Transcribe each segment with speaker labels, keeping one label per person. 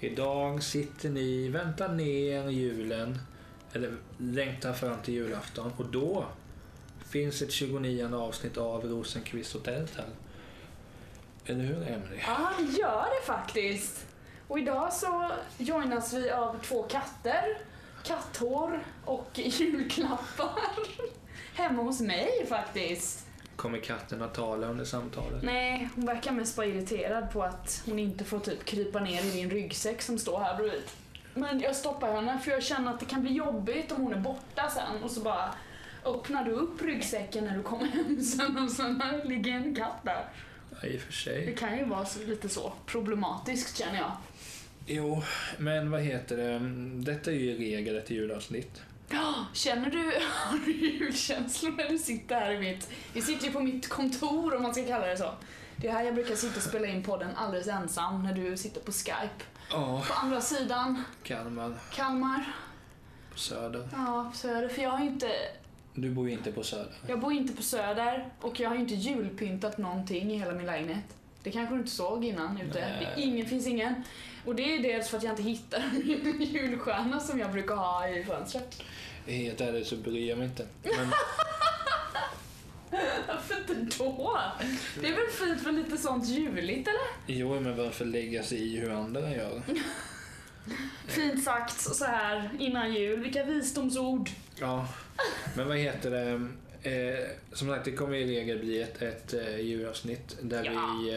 Speaker 1: Idag sitter ni, väntar ner julen, eller längtar fram till julafton och då finns ett 29 avsnitt av Rosenqvist och Telltale. Eller hur Emelie?
Speaker 2: Ja, det Ah, gör det faktiskt. Och idag så joinas vi av två katter, katthår och julklappar. Hemma hos mig faktiskt.
Speaker 1: Kommer katten att tala under samtalet?
Speaker 2: Nej, hon verkar mest vara irriterad på att hon inte får typ krypa ner i min ryggsäck som står här bredvid. Men jag stoppar henne för jag känner att det kan bli jobbigt om hon är borta sen och så bara öppnar du upp ryggsäcken när du kommer hem sen och sen ligger en katt där.
Speaker 1: Ja, I och för
Speaker 2: Det
Speaker 1: sig.
Speaker 2: kan ju vara så- lite så problematiskt känner jag.
Speaker 1: Jo, men vad heter det? Detta är ju i regel ett julavsnitt.
Speaker 2: Ja, Känner du, har du julkänslor när du sitter här i mitt... Vi sitter ju på mitt kontor om man ska kalla det så. Det är här jag brukar sitta och spela in podden alldeles ensam när du sitter på Skype.
Speaker 1: Ja,
Speaker 2: På andra sidan,
Speaker 1: Kalmar,
Speaker 2: Kalmar.
Speaker 1: på Söder.
Speaker 2: Ja, på Söder. För jag har ju inte...
Speaker 1: Du bor ju inte på Söder.
Speaker 2: Jag bor inte på Söder och jag har ju inte julpyntat någonting i hela min lägenhet. Det kanske du inte såg innan ute.
Speaker 1: Nej.
Speaker 2: Det är ingen, finns ingen. Och det är dels för att jag inte hittar min julstjärna som jag brukar ha i fönstret.
Speaker 1: Helt ärligt så bryr jag mig inte. Men
Speaker 2: Varför inte då? Det är väl fint med lite sånt juligt eller?
Speaker 1: jo, men varför lägga sig i hur andra gör?
Speaker 2: Fint sagt så här innan jul. Vilka visdomsord.
Speaker 1: Ja, men vad heter det? Eh, som sagt, det kommer i regel bli ett, ett eh, julavsnitt där
Speaker 2: Ja.
Speaker 1: vi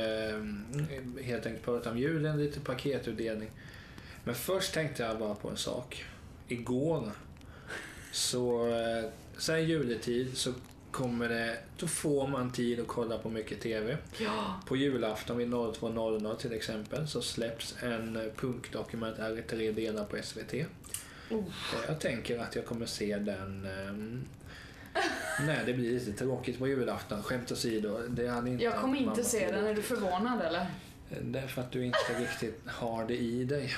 Speaker 1: eh, helt enkelt pratar om julen, lite paketutdelning. Men först tänkte jag bara på en sak. Igår, så eh, sen juletid så kommer det, då får man tid att kolla på mycket TV.
Speaker 2: Ja.
Speaker 1: På julafton vid 02.00 till exempel så släpps en eh, punkdokumentär i tre delar på SVT.
Speaker 2: Oh.
Speaker 1: Och jag tänker att jag kommer se den... ehm, nej, det blir lite tråkigt på julafton. Skämt åsido. Det hade inte
Speaker 2: Jag kommer
Speaker 1: mamma
Speaker 2: inte se den. Är du
Speaker 1: tillåtit.
Speaker 2: förvånad eller?
Speaker 1: Därför att du inte riktigt har det i dig.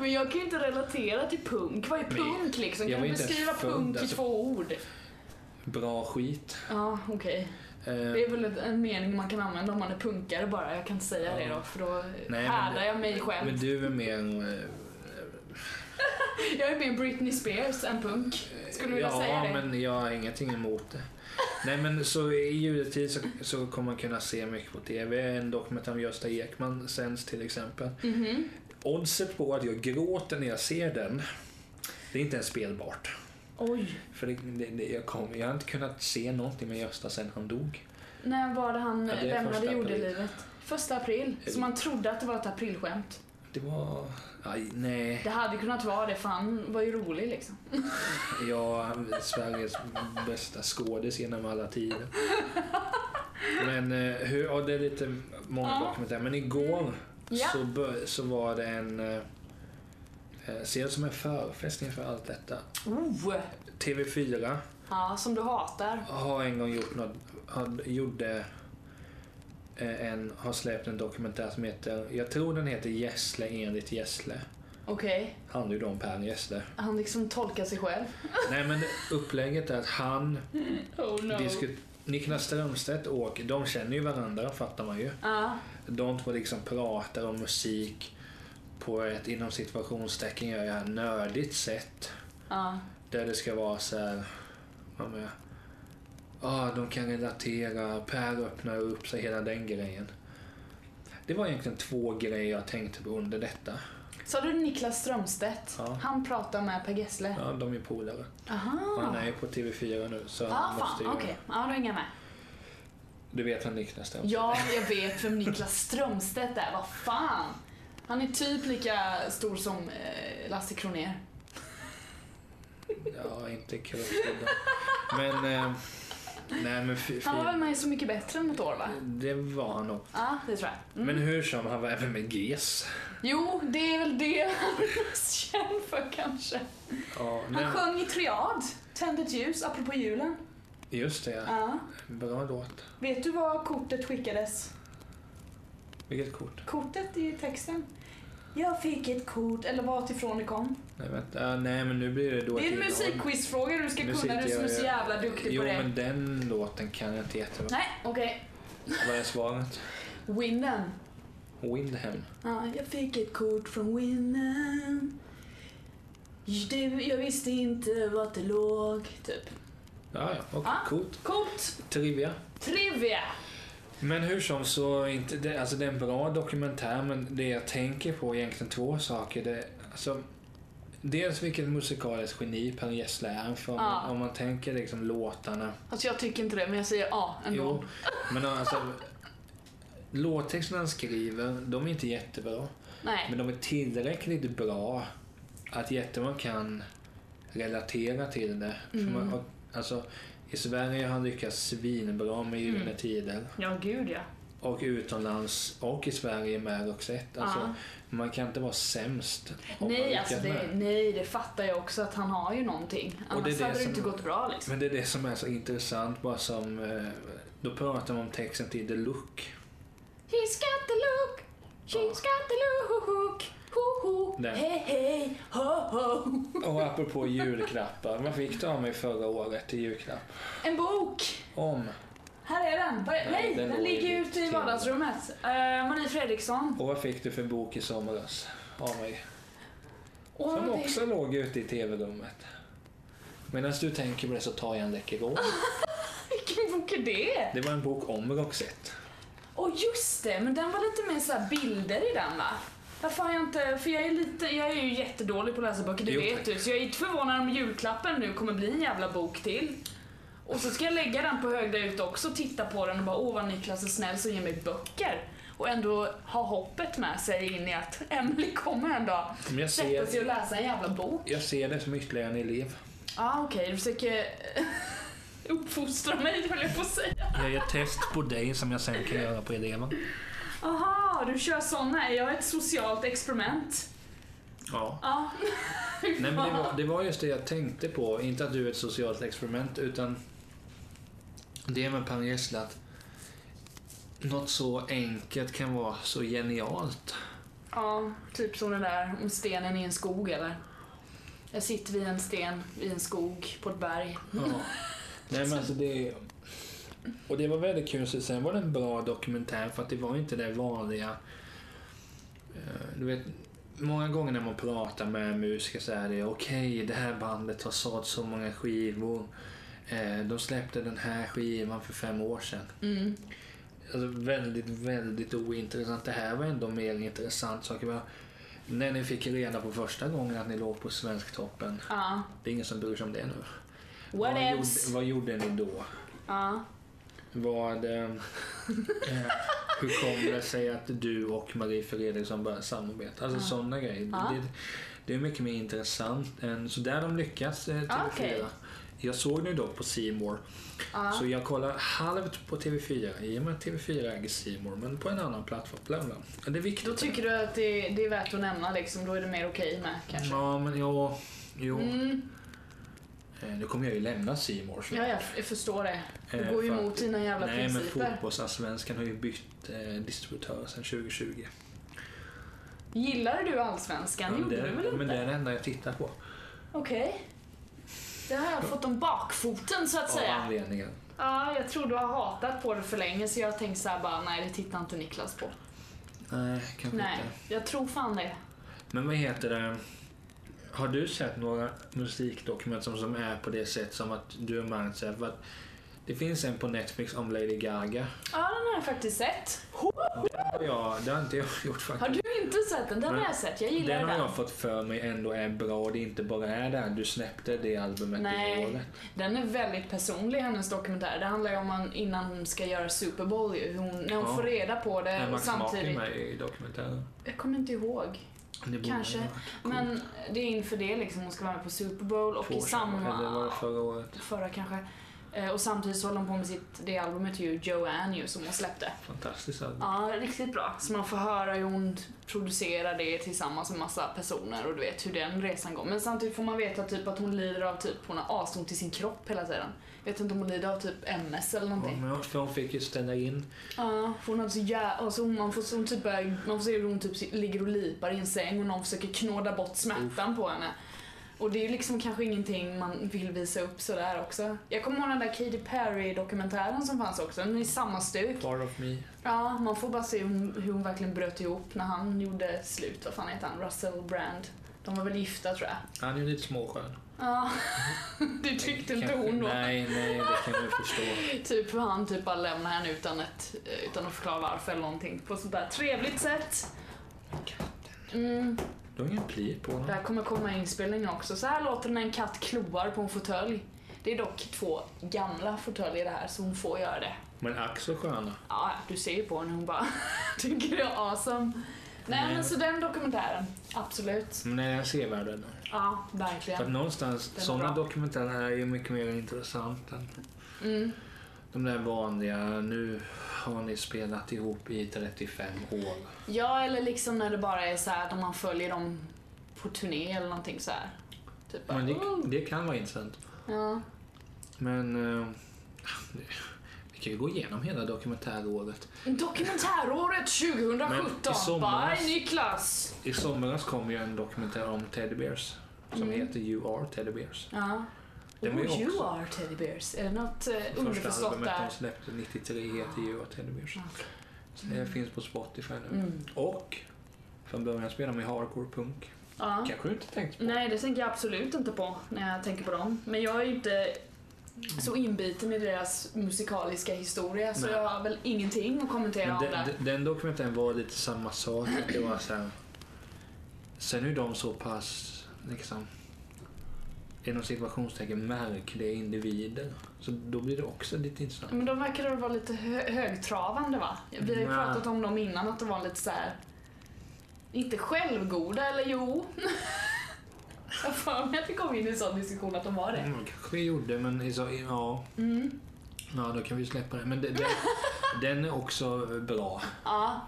Speaker 2: Men jag kan ju inte relatera till punk. Vad är
Speaker 1: Men
Speaker 2: punk liksom?
Speaker 1: jag
Speaker 2: Kan
Speaker 1: var
Speaker 2: du
Speaker 1: inte ens
Speaker 2: beskriva
Speaker 1: född,
Speaker 2: punk i
Speaker 1: alltså.
Speaker 2: två ord?
Speaker 1: Bra skit.
Speaker 2: Ja, okej.
Speaker 1: Eh,
Speaker 2: Det är väl ett- en mening man kan använda om man är punkare bara. Jag kan inte säga
Speaker 1: Ja.
Speaker 2: det då för då
Speaker 1: men
Speaker 2: härdar
Speaker 1: det-
Speaker 2: jag mig själv.
Speaker 1: Men du är mer... eh,
Speaker 2: Jag är mer Britney Spears än punk. Skulle du vilja
Speaker 1: ja,
Speaker 2: säga det?
Speaker 1: men jag har ingenting emot det. Nej men så i juletid så, så kommer man kunna se mycket på TV. En dokumentär om Gösta Ekman sänds till exempel.
Speaker 2: Mhm.
Speaker 1: Oddset på att jag gråter när jag ser den, det är inte ens spelbart.
Speaker 2: Oj.
Speaker 1: För det, det, det, jag, kom, jag har inte kunnat se någonting med Gösta sen han dog.
Speaker 2: När var det han
Speaker 1: Ja, det är
Speaker 2: lämnade
Speaker 1: första april.
Speaker 2: jordelivet? Första april. Så man trodde att det var ett aprilskämt.
Speaker 1: Det var... Aj, nej.
Speaker 2: Det hade kunnat vara det för han var ju rolig liksom.
Speaker 1: Jag Sveriges bästa skådis genom alla tider. Men eh, hur, ja, det är lite många
Speaker 2: Ja.
Speaker 1: dokumentärer. Men igår
Speaker 2: Ja.
Speaker 1: så, bör, så var det en... eh, eh, Ser det som en förfest inför allt detta.
Speaker 2: Oh.
Speaker 1: TV4
Speaker 2: Ja, som du hatar.
Speaker 1: har en gång gjort något, har, gjorde eh, en, har släppt en dokumentär som heter, jag tror den heter Gessle enligt Gessle.
Speaker 2: Okej.
Speaker 1: Handlar ju då om Per Gessle.
Speaker 2: Han liksom tolkar sig själv.
Speaker 1: Nej men upplägget är att han,
Speaker 2: Oh no.
Speaker 1: disku, Niklas Strömstedt och, de känner ju varandra fattar man ju.
Speaker 2: Ja.
Speaker 1: De två liksom pratar om musik på ett inom situationstecken gör jag nördigt sätt.
Speaker 2: Ja.
Speaker 1: Där det ska vara så här, vad menar jag? Ja, de kan relatera, Per öppnar upp sig, hela den grejen. Det var egentligen två grejer jag tänkte på under detta.
Speaker 2: Sa du Niklas Strömstedt?
Speaker 1: Ja.
Speaker 2: Han pratar med Per Gessle.
Speaker 1: Ja, de är polare. Och Han
Speaker 2: Aha.
Speaker 1: är ju på TV4 nu så
Speaker 2: Ah,
Speaker 1: han måste
Speaker 2: fan,
Speaker 1: ju...
Speaker 2: okej. Ja, då hänger jag med.
Speaker 1: Du vet vem Niklas Strömstedt
Speaker 2: Ja, jag vet vem Niklas Strömstedt är. Vad fan. Han är typ lika stor som eh, Lasse Kronér.
Speaker 1: Ja, inte krökt. Men... Eh, nej men fy, fy,
Speaker 2: Han var väl med i Så Mycket Bättre än ett år va?
Speaker 1: Det var han nog.
Speaker 2: Ja, det tror jag. Mm.
Speaker 1: Men hur som, han var även med GES.
Speaker 2: Jo, det är väl det han är mest känd för kanske.
Speaker 1: Ja,
Speaker 2: Han
Speaker 1: nej,
Speaker 2: sjöng i triad, Tänd ett ljus, apropå julen.
Speaker 1: just det, ja.
Speaker 2: Ja.
Speaker 1: Bra låt.
Speaker 2: Vet du var kortet skickades?
Speaker 1: Vilket kort?
Speaker 2: Kortet i texten. Jag fick ett kort, eller vart ifrån det kom.
Speaker 1: Nej, vänta. Ja, nej men nu blir det då
Speaker 2: Det
Speaker 1: ett
Speaker 2: är en
Speaker 1: inhopp.
Speaker 2: musikquizfråga du ska
Speaker 1: Musik,
Speaker 2: kunna, du som är
Speaker 1: jag-
Speaker 2: så jävla duktig
Speaker 1: jo,
Speaker 2: på det.
Speaker 1: men den låten kan jag inte jättebra.
Speaker 2: Nej, okej.
Speaker 1: Vad är svaret?
Speaker 2: Winden.
Speaker 1: Windhem.
Speaker 2: Ja, jag fick ett kort från Winnem. Det, jag visste inte vart det låg. Typ.
Speaker 1: Ja, ja. Och
Speaker 2: Ja.
Speaker 1: coolt.
Speaker 2: Coolt!
Speaker 1: Trivia.
Speaker 2: Trivia!
Speaker 1: Men hur som så, är inte, det, alltså det är en bra dokumentär men det jag tänker på är egentligen två saker. Det, alltså, dels vilket musikaliskt geni Per Gessle är. För om,
Speaker 2: Ja.
Speaker 1: om man tänker liksom låtarna.
Speaker 2: Alltså jag tycker inte det, men jag säger ja ändå.
Speaker 1: Jo, men alltså låttexterna han skriver, de är inte jättebra.
Speaker 2: Nej.
Speaker 1: Men de är tillräckligt bra att jättemånga kan relatera till det. För
Speaker 2: Mm.
Speaker 1: Man, och, alltså, I Sverige har han lyckats svinbra med Gyllene
Speaker 2: Mm.
Speaker 1: Tider.
Speaker 2: Ja, gud ja.
Speaker 1: Och utomlands och i Sverige med Roxette. Alltså,
Speaker 2: Ja.
Speaker 1: Man kan inte vara sämst. om man
Speaker 2: Nej,
Speaker 1: lyckas
Speaker 2: alltså det,
Speaker 1: med.
Speaker 2: nej, det fattar jag också att han har ju någonting.
Speaker 1: det är
Speaker 2: Annars
Speaker 1: det
Speaker 2: hade det
Speaker 1: som-
Speaker 2: inte gått bra liksom.
Speaker 1: Men det är det som är så intressant. Bara som, eh, då pratar man om texten till The Look.
Speaker 2: She's got the look, she's got the look. Ho, ho.
Speaker 1: Där.
Speaker 2: Hej, hej, ho, ho.
Speaker 1: Och apropå julklappar. Vad fick du av mig förra året i julklapp?
Speaker 2: En bok!
Speaker 1: Om.
Speaker 2: Här är den. Var, nej,
Speaker 1: Nej, den
Speaker 2: den,
Speaker 1: låg i
Speaker 2: ligger
Speaker 1: ditt
Speaker 2: ute i
Speaker 1: kläder.
Speaker 2: vardagsrummet. Uh, Marie Fredriksson.
Speaker 1: Och vad fick du för bok i somras av mig?
Speaker 2: Åh,
Speaker 1: Som
Speaker 2: det-
Speaker 1: också låg ute i tv-rummet. Medan du tänker på det så tar jag en läckergård.
Speaker 2: Vilken bok är det?
Speaker 1: Det var en bok om Roxette.
Speaker 2: Åh just det, men den var lite mer så här bilder i den va? Varför har jag inte, för jag är lite, jag är ju jättedålig på att läsa böcker, det
Speaker 1: Jo,
Speaker 2: vet
Speaker 1: tack.
Speaker 2: du. Så jag är inte förvånad om julklappen nu kommer bli en jävla bok till. Och så ska jag lägga den på hög där ute också, titta på den och bara åh vad Niklas är snäll som ger mig böcker. Och ändå ha hoppet med sig in i att Emily kommer en dag
Speaker 1: Men jag
Speaker 2: sätta sig
Speaker 1: ser,
Speaker 2: och läsa en jävla bok.
Speaker 1: jag ser det som ytterligare en elev.
Speaker 2: Ja ah, okej, du försöker uppfostra mig höll jag på att säga.
Speaker 1: Jag gör test på dig som jag sen kan göra på eleven.
Speaker 2: Aha, du kör såna. Jag är ett socialt experiment.
Speaker 1: Ja.
Speaker 2: Ja.
Speaker 1: Nej, men det, var, det var just det jag tänkte på. Inte att du är ett socialt experiment utan det med Per Gessle att något så enkelt kan vara så genialt.
Speaker 2: Ja, typ som den där om stenen i en skog eller? Jag sitter vid en sten i en skog på ett berg.
Speaker 1: Ja. Nej men alltså det... Och det var väldigt kul. Så Sen var det en bra dokumentär för att det var inte det vanliga. Eh, Du vet, många gånger när man pratar med musiker så är det okej, det här bandet har sålt så många skivor. Eh, De släppte den här skivan för fem år sedan.
Speaker 2: Mm.
Speaker 1: Alltså väldigt, väldigt ointressant. Det här var ändå mer intressant saker. Bara, När ni fick reda på första gången att ni låg på Svensktoppen.
Speaker 2: Ja.
Speaker 1: Det är ingen som bryr sig om det nu.
Speaker 2: What
Speaker 1: vad, gjorde,
Speaker 2: else?
Speaker 1: vad gjorde ni då?
Speaker 2: Ja.
Speaker 1: Vad, eh, eh, hur kommer det sig att du och Marie Fredriksson började samarbeta? Alltså
Speaker 2: Ja.
Speaker 1: sådana grejer.
Speaker 2: Ja.
Speaker 1: Det, det är mycket mer intressant. Än, så där har de lyckats eh, TV4.
Speaker 2: Ja, Ah, okej.
Speaker 1: Jag såg nu då på C More.
Speaker 2: ja.
Speaker 1: Så jag kollar halvt på TV4. I och med att TV4 äger C More, men på en annan plattform. Bla bla. Men Det är viktigt.
Speaker 2: Då tycker du att det, det är värt att nämna liksom, då är det mer okej med kanske?
Speaker 1: Ja, men ja, jo.
Speaker 2: Mm.
Speaker 1: Eh, Nu kommer jag ju lämna C More.
Speaker 2: Ja, jag, f- jag förstår det. Du
Speaker 1: Eh,
Speaker 2: går ju
Speaker 1: för att-
Speaker 2: emot dina jävla
Speaker 1: Nej, men
Speaker 2: principer.
Speaker 1: fotbollsallsvenskan har ju bytt eh, distributör sedan 2020.
Speaker 2: Gillar du Allsvenskan?
Speaker 1: men,
Speaker 2: gjorde
Speaker 1: det,
Speaker 2: du väl inte?
Speaker 1: men det är det enda jag tittar på.
Speaker 2: Okej. Det har jag fått om bakfoten så att
Speaker 1: Av
Speaker 2: säga.
Speaker 1: anledningen.
Speaker 2: Ja, jag tror du har hatat på det för länge så jag tänkte såhär bara, nej det tittar inte Niklas på.
Speaker 1: Nej, kanske
Speaker 2: Nej,
Speaker 1: inte.
Speaker 2: jag tror fan det.
Speaker 1: Men vad heter det? Har du sett några musikdokument som, som är på det sätt som att du har märkt så här, för att det finns en på Netflix om Lady Gaga.
Speaker 2: Ja, den har jag faktiskt sett.
Speaker 1: Ja, det har inte jag gjort faktiskt.
Speaker 2: Har du inte sett den? Den har
Speaker 1: Nej.
Speaker 2: jag sett, jag gillar
Speaker 1: Den
Speaker 2: den.
Speaker 1: har jag fått för mig ändå är bra och det inte bara är där. Du släppte det albumet i
Speaker 2: Nej,
Speaker 1: året.
Speaker 2: den är väldigt personlig hennes dokumentär. Det handlar ju om hon, innan hon ska göra Super Bowl ju. Hon, när hon
Speaker 1: Ja.
Speaker 2: får reda på det
Speaker 1: Är
Speaker 2: och
Speaker 1: Max Martin
Speaker 2: eh, samtidigt...
Speaker 1: med i dokumentären?
Speaker 2: Jag kommer inte ihåg.
Speaker 1: Det borde
Speaker 2: Kanske.
Speaker 1: han ha varit. Coolt.
Speaker 2: Men det är inför det liksom, hon ska vara med på Super Bowl och
Speaker 1: Två
Speaker 2: i
Speaker 1: år sedan,
Speaker 2: samma...
Speaker 1: Eller var det förra året?
Speaker 2: Förra kanske. Eh, Och samtidigt så håller hon på med sitt, det albumet ju, Joanne ju, som hon släppte.
Speaker 1: Fantastiskt album.
Speaker 2: Ja, riktigt bra. Så man får höra hur hon producerar det tillsammans med massa personer och du vet hur den resan går. Men samtidigt får man veta typ att hon lider av typ, hon har asont i sin kropp hela tiden. Vet inte om hon lider av typ MS eller
Speaker 1: Ja,
Speaker 2: någonting.
Speaker 1: men för hon fick ju ställa in.
Speaker 2: Ja, för hon har så jävla, alltså hon- man får, så hon typ börjar, man får se hur hon typ ligger och lipar i en säng och någon försöker knåda bort smärtan på henne. Och det är ju liksom kanske ingenting man vill visa upp sådär också. Jag kommer ihåg den där Katy Perry-dokumentären som fanns också. Den är i samma stuk.
Speaker 1: Part of me.
Speaker 2: Ja, man får bara se hur hon, hur hon verkligen bröt ihop när han gjorde slut. Vad fan heter han? Russell Brand. De var väl gifta tror jag.
Speaker 1: Han är ju lite småskön.
Speaker 2: Ja, det tyckte inte
Speaker 1: Kanske-
Speaker 2: hon då.
Speaker 1: Nej, nej, det kan jag förstå.
Speaker 2: Typ hur han typ bara lämnar henne utan, ett, eh, utan att förklara varför eller någonting på ett sånt där trevligt sätt. Mm,
Speaker 1: Du har ingen plir på honom.
Speaker 2: där kommer komma inspelningen också. Så här låter det när en katt kloar på en fåtölj. Det är dock två gamla fåtöljer det här så hon får göra det.
Speaker 1: Men ack så sköna.
Speaker 2: Ja, du ser ju på henne hon bara tycker det är awesome. Nej
Speaker 1: Nej.
Speaker 2: men så den dokumentären, absolut.
Speaker 1: Men nej, jag ser världen.
Speaker 2: Ja,
Speaker 1: För att
Speaker 2: verkligen.
Speaker 1: någonstans,
Speaker 2: Den är
Speaker 1: sådana
Speaker 2: bra.
Speaker 1: dokumentärer är ju mycket mer intressant än
Speaker 2: Mm.
Speaker 1: de där vanliga, nu har ni spelat ihop i 35 år.
Speaker 2: Ja, eller liksom när det bara är så här när man följer dem på turné eller någonting så här. Typ bara,
Speaker 1: Men det,
Speaker 2: "Oh."
Speaker 1: det kan vara intressant.
Speaker 2: ja.
Speaker 1: Men eh, vi kan ju gå igenom hela dokumentäråret.
Speaker 2: Dokumentäråret 2017
Speaker 1: Men i somras-
Speaker 2: by Niklas.
Speaker 1: I somras kom ju en dokumentär om Teddy Bears som
Speaker 2: Mm.
Speaker 1: heter You Are Teddy Bears.
Speaker 2: Ja.
Speaker 1: Den var ju
Speaker 2: oh, you
Speaker 1: också-
Speaker 2: are teddy bears. Är det något eh,
Speaker 1: Första
Speaker 2: underförstått
Speaker 1: albumet
Speaker 2: där?
Speaker 1: de släppte 93 heter You Are Teddy Bears.
Speaker 2: Ja.
Speaker 1: Så det finns på Spotify nu.
Speaker 2: Mm.
Speaker 1: Och från början spelade de i hardcore punk.
Speaker 2: Ja.
Speaker 1: Kanske du inte tänkt på.
Speaker 2: Nej, det tänker jag absolut inte på när jag tänker på dem. Men jag är ju inte så inbiten i deras musikaliska historia så
Speaker 1: Nej.
Speaker 2: jag har väl ingenting att kommentera
Speaker 1: Men
Speaker 2: om
Speaker 1: den,
Speaker 2: det.
Speaker 1: den- den dokumentären var lite samma sak. att Det var så här, sen är de så pass, liksom, inom situationstecken märkliga individer. Så då blir det också lite intressant.
Speaker 2: Men de verkar väl vara lite hö- högtravande va? Vi har
Speaker 1: Nej.
Speaker 2: ju pratat om dem innan att de var lite så här. Inte självgoda eller jo? jag har för mig att vi kom in i en sån diskussion att de var det.
Speaker 1: Mm, kanske vi gjorde, men i så- ja,
Speaker 2: Mm.
Speaker 1: ja, då kan vi släppa det. Men det, den, den är också bra.
Speaker 2: Ja.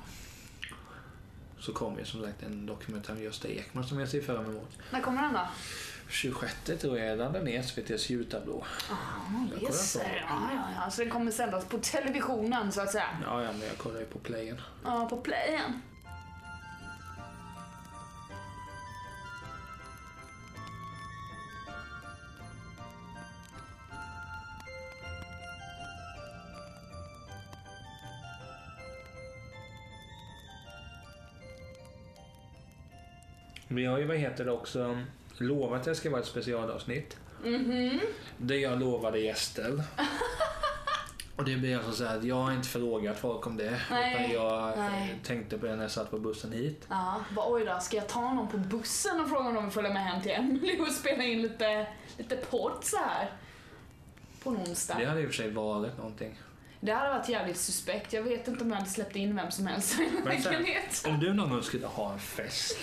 Speaker 1: Så kom ju som sagt en dokumentär med Gösta Ekman som jag ser fram emot.
Speaker 2: När kommer den då?
Speaker 1: Ah, 26 tror jag den är SVTs ljudtablå. Jag
Speaker 2: Yes.
Speaker 1: kollar på den.
Speaker 2: Ja, ja, ja. Så den kommer sändas på televisionen så att säga.
Speaker 1: Ja, ja, men jag kollar ju på playen.
Speaker 2: Ja, på playen.
Speaker 1: Vi har ju, vad heter det också, lovat att det ska vara ett specialavsnitt.
Speaker 2: Mhm.
Speaker 1: Det jag lovade gäster. Och det blir alltså så här att jag har inte frågat folk om det.
Speaker 2: Nej,
Speaker 1: Utan jag eh,
Speaker 2: nej.
Speaker 1: tänkte på det när jag satt på bussen hit.
Speaker 2: Ja, bara oj då, ska jag ta någon på bussen och fråga om de vill följa med hem till Emily och spela in lite, lite podd så här? På en onsdag.
Speaker 1: Det hade i och för sig varit någonting.
Speaker 2: Det hade varit jävligt suspekt. Jag vet inte om jag hade släppt in vem som helst i en
Speaker 1: Men sen-
Speaker 2: lägenhet.
Speaker 1: Om du någon gång skulle ha en fest.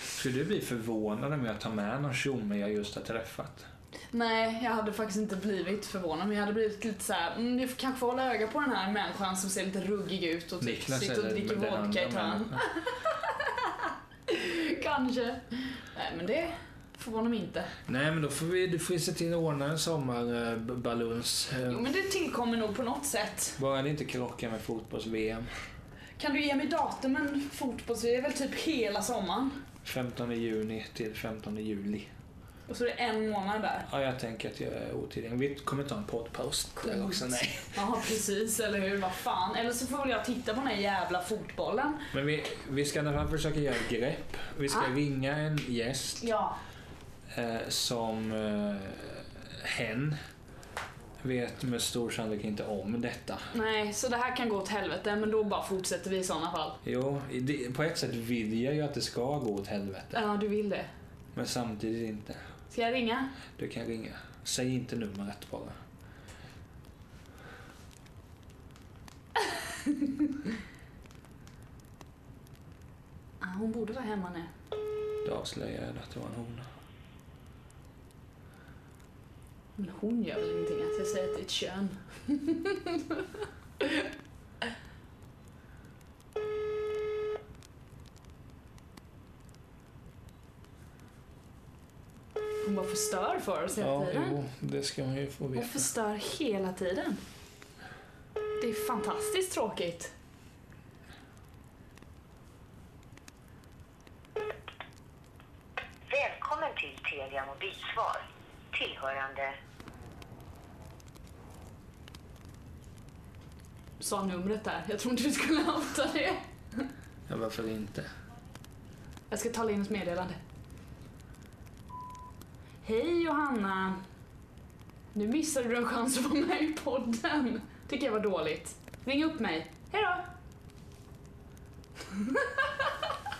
Speaker 1: skulle du bli förvånad om jag tar med någon tjomme jag just har träffat?
Speaker 2: Nej, jag hade faktiskt inte blivit förvånad. Men jag hade blivit lite så här, mm, vi får kanske hålla öga på den här människan som ser lite ruggig ut och typ
Speaker 1: Niklas
Speaker 2: sitter och
Speaker 1: eller
Speaker 2: dricker
Speaker 1: den andra
Speaker 2: vodka i törn.
Speaker 1: människan.
Speaker 2: Kanske. Nej, men det förvånar mig inte.
Speaker 1: Nej men då får vi, du får vi se till att ordna en sommarbaluns.
Speaker 2: Jo, men det tillkommer nog på något sätt.
Speaker 1: Bara det inte krockar med fotbolls-VM.
Speaker 2: Kan du ge mig datumen fotbolls Det är väl typ hela sommaren.
Speaker 1: 15 juni till 15 juli.
Speaker 2: Och så är det en månad där.
Speaker 1: Ja, jag tänker att jag är otillgänglig. Vi kommer ta en poddpaus där
Speaker 2: Coolt.
Speaker 1: också. Nej.
Speaker 2: Ja, precis. Eller hur? Vad fan. Eller så får väl jag titta på den här jävla fotbollen.
Speaker 1: Men vi, vi ska i alla fall försöka göra ett grepp. Vi ska
Speaker 2: Ah.
Speaker 1: ringa en gäst
Speaker 2: Ja.
Speaker 1: eh, som eh, hen vet med stor sannolikhet inte om detta.
Speaker 2: Nej, så det här kan gå åt helvete. Men då bara fortsätter vi i sådana fall.
Speaker 1: Jo, i det, på ett sätt vill jag ju att det ska gå åt helvete.
Speaker 2: Ja, du vill det.
Speaker 1: Men samtidigt inte.
Speaker 2: Ska jag ringa?
Speaker 1: Du kan ringa. Säg inte numret bara.
Speaker 2: Ah, hon borde vara hemma nu.
Speaker 1: Då avslöjar jag att det var en hona.
Speaker 2: Men hon gör väl ingenting att jag säger att det är ett kön. Hon bara förstör för oss hela
Speaker 1: Ja,
Speaker 2: tiden.
Speaker 1: jo, det ska man ju få
Speaker 2: Hon
Speaker 1: veta.
Speaker 2: förstör hela tiden. Det är fantastiskt tråkigt.
Speaker 3: Välkommen till Telia tillgängliga mobilsvar tillhörande
Speaker 2: Sa numret där. Jag tror inte du skulle outa det.
Speaker 1: Ja, varför inte?
Speaker 2: Jag ska tala in ett meddelande. Hej Johanna! Nu missade du en chans att vara med i podden. Tycker jag var dåligt. Ring upp mig. Hej då!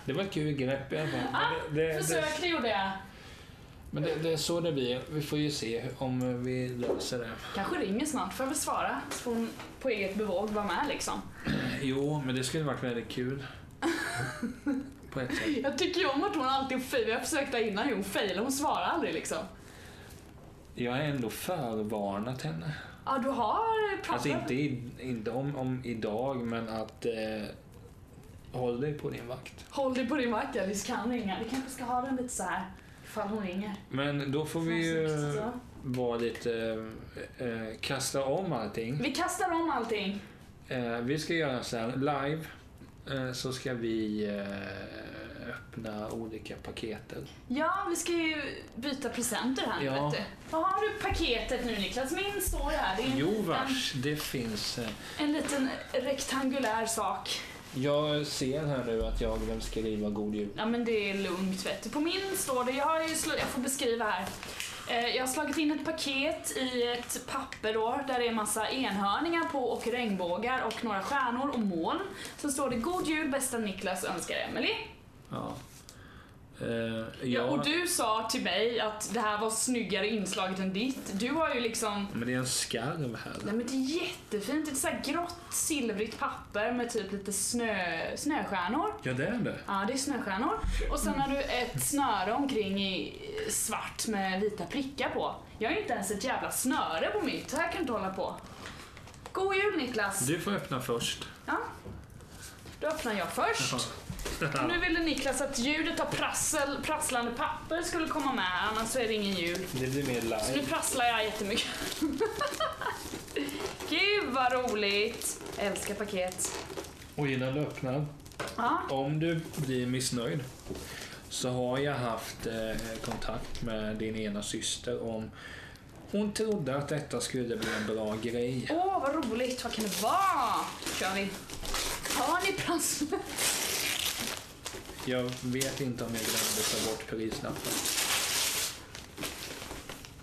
Speaker 1: Det var ett kul grepp i alla fall. Men det, det, det,
Speaker 2: Försök, det gjorde jag.
Speaker 1: men det, det är så det blir. Vi får ju se om vi löser det.
Speaker 2: Kanske ringer snart, får jag väl svara. Så får hon på eget bevåg vara med liksom.
Speaker 1: Jo, men det skulle varit väldigt kul. På ett sätt.
Speaker 2: Jag tycker ju om att hon alltid failar. Jag försökte innan, hon failar. Hon svarar aldrig liksom.
Speaker 1: Jag har ändå förvarnat henne.
Speaker 2: Ja, du har pratat.
Speaker 1: Alltså inte, i, inte om, om idag, men att eh, håll dig på din vakt.
Speaker 2: Håll dig på din vakt, ja. Visst kan hon ringa. Vi kanske ska ha den lite så här. Ifall hon ringer.
Speaker 1: Men då får vi eh, ju vara lite, eh, eh, kasta om allting.
Speaker 2: Vi kastar om allting.
Speaker 1: Eh, vi ska göra så här live, eh, så ska vi eh, öppna olika paketen.
Speaker 2: Ja, vi ska ju byta presenter här nu
Speaker 1: Ja.
Speaker 2: vet du. Vad har du i paketet nu Niklas? Min står ju här. Det är en,
Speaker 1: Jo
Speaker 2: liten,
Speaker 1: vars, det finns. Eh,
Speaker 2: en liten rektangulär sak.
Speaker 1: jag ser här nu att jag glömt skriva god jul.
Speaker 2: Ja men det är lugnt vet du. På min står det, jag, har ju sl- jag får beskriva här. Eh, Jag har slagit in ett paket i ett papper då, där det är massa enhörningar på och regnbågar och några stjärnor och moln. Sen står det God Jul bästa Niklas önskar Emily.
Speaker 1: Ja. Eh,
Speaker 2: Ja.
Speaker 1: jag,
Speaker 2: Och du sa till mig att det här var snyggare inslaget än ditt. Du har ju liksom
Speaker 1: Men det är en skarv här.
Speaker 2: Nej men det är jättefint, det är ett så här grått silvrigt papper med typ lite snö, snöstjärnor.
Speaker 1: Ja det är det.
Speaker 2: Ja, det är snöstjärnor. Och sen har du ett snöre omkring i svart med vita prickar på. Jag har inte ens ett jävla snöre på mitt, så här kan du inte hålla på. God jul Niklas!
Speaker 1: Du får öppna först.
Speaker 2: Ja. Då öppnar jag först. Och nu ville Niklas att ljudet av prassel, prasslande papper skulle komma med, annars så är det ingen jul.
Speaker 1: Det blir mer
Speaker 2: Så nu
Speaker 1: live.
Speaker 2: prasslar jag jättemycket. Gud vad roligt! Älskar paket.
Speaker 1: Och innan du öppnar,
Speaker 2: Ja,
Speaker 1: om du blir missnöjd så har jag haft eh, kontakt med din ena syster om hon trodde att detta skulle bli en bra grej.
Speaker 2: Åh, vad roligt. Vad kan det vara? kör vi. Har ni prasslet?
Speaker 1: Jag vet inte om jag glömde ta bort prislappen.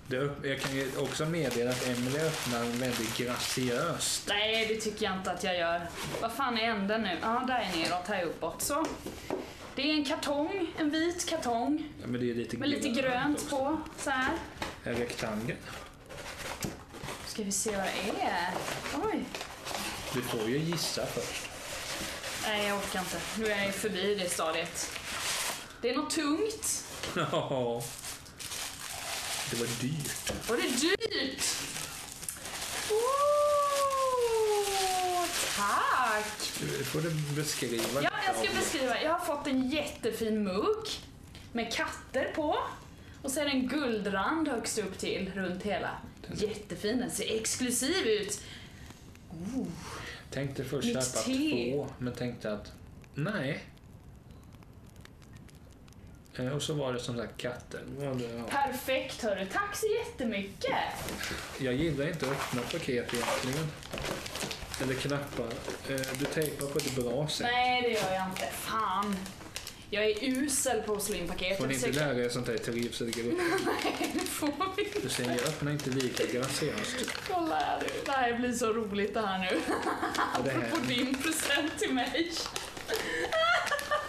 Speaker 1: Det öpp- Jag kan ju också meddela att Emily öppnar väldigt graciöst.
Speaker 2: Nej, det tycker jag inte att jag gör. Vad fan är änden nu? Ja, där är neråt, här är uppåt. Så. Det är en kartong, en vit kartong
Speaker 1: Ja, Men det är lite
Speaker 2: med lite grönt
Speaker 1: också.
Speaker 2: på. Så här.
Speaker 1: En rektangel.
Speaker 2: Ska vi se vad det är? Oj.
Speaker 1: Du får ju gissa först.
Speaker 2: Nej, jag orkar inte. Nu är jag ju förbi det stadiet. Det är något tungt.
Speaker 1: Ja. Det var dyrt.
Speaker 2: Och det är dyrt! Åh, tack!
Speaker 1: Nu får du beskriva.
Speaker 2: Ja,
Speaker 1: lite
Speaker 2: jag ska
Speaker 1: av det.
Speaker 2: beskriva. Jag har fått en jättefin mugg med katter på. Och så är det en guldrand högst upp till runt hela. Jättefin, den ser exklusiv ut.
Speaker 1: Tänkte först
Speaker 2: Mitt
Speaker 1: köpa
Speaker 2: te.
Speaker 1: två, men tänkte att nej. Eh, Och så var det som sagt katter. Det var det, ja.
Speaker 2: Perfekt hörru, tack så jättemycket.
Speaker 1: Jag gillar inte att öppna paket egentligen. Eller knappar. Eh, Du tejpar på ett bra sätt.
Speaker 2: Nej, det gör jag inte. Fan. Jag är usel på att slå in paket.
Speaker 1: Får ni
Speaker 2: Jag
Speaker 1: inte
Speaker 2: försöker-
Speaker 1: lära er sånt här i trivselgrupp?
Speaker 2: Nej, det får vi inte.
Speaker 1: Du ser, jag öppnar inte lika graciöst.
Speaker 2: Kolla här nu. Det här blir så roligt det här nu.
Speaker 1: Och det här-
Speaker 2: Apropå din present till mig.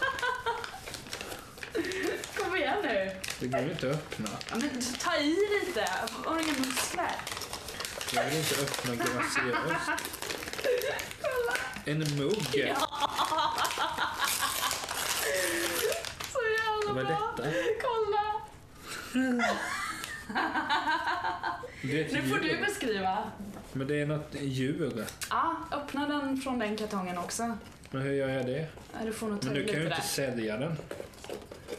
Speaker 2: Kom igen nu.
Speaker 1: Det går ju inte att öppna.
Speaker 2: Ja, Men ta i lite. Har du inga muskler?
Speaker 1: Jag vill inte öppna graciöst. En mugg.
Speaker 2: Så jävla
Speaker 1: Vad är
Speaker 2: bra.
Speaker 1: detta?
Speaker 2: Kolla.
Speaker 1: Det är ett
Speaker 2: Nu får du
Speaker 1: djur.
Speaker 2: beskriva.
Speaker 1: Men det är något djur.
Speaker 2: Ja, öppna den från den kartongen också.
Speaker 1: Men hur gör jag det?
Speaker 2: Ja, Du får nog ta
Speaker 1: Men
Speaker 2: i
Speaker 1: du kan
Speaker 2: lite
Speaker 1: ju inte
Speaker 2: där.
Speaker 1: sälja den.